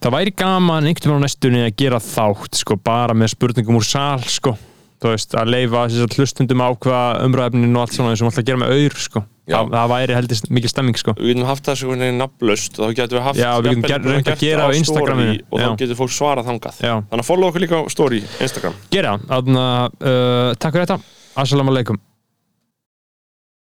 Speaker 1: það væri gaman einhvern veginn á næstunni að gera þátt, sko, bara með spurningum úr sal, sko. Þú veist, að leifa þessar hlustundum á hvað umræðefnin og allt svona eins og maður ætla að gera með auður, sko.
Speaker 2: Já.
Speaker 1: Það, það væri heldur mikil stemming, sko.
Speaker 2: við getum haft það svo hvernig nafnlaust þá getum við haft
Speaker 1: Já, við getum
Speaker 2: jafnvel
Speaker 1: ger-
Speaker 2: bara
Speaker 1: reynt að
Speaker 2: gert
Speaker 1: gera á
Speaker 2: story
Speaker 1: Instagraminu.
Speaker 2: og
Speaker 1: Já.
Speaker 2: þá getur fólk svarað þangað
Speaker 1: Já.
Speaker 2: þannig að follow okkur líka á story Instagram
Speaker 1: eh, Gera, þannig að uh, takk fyrir þetta. Assalamu alaikum.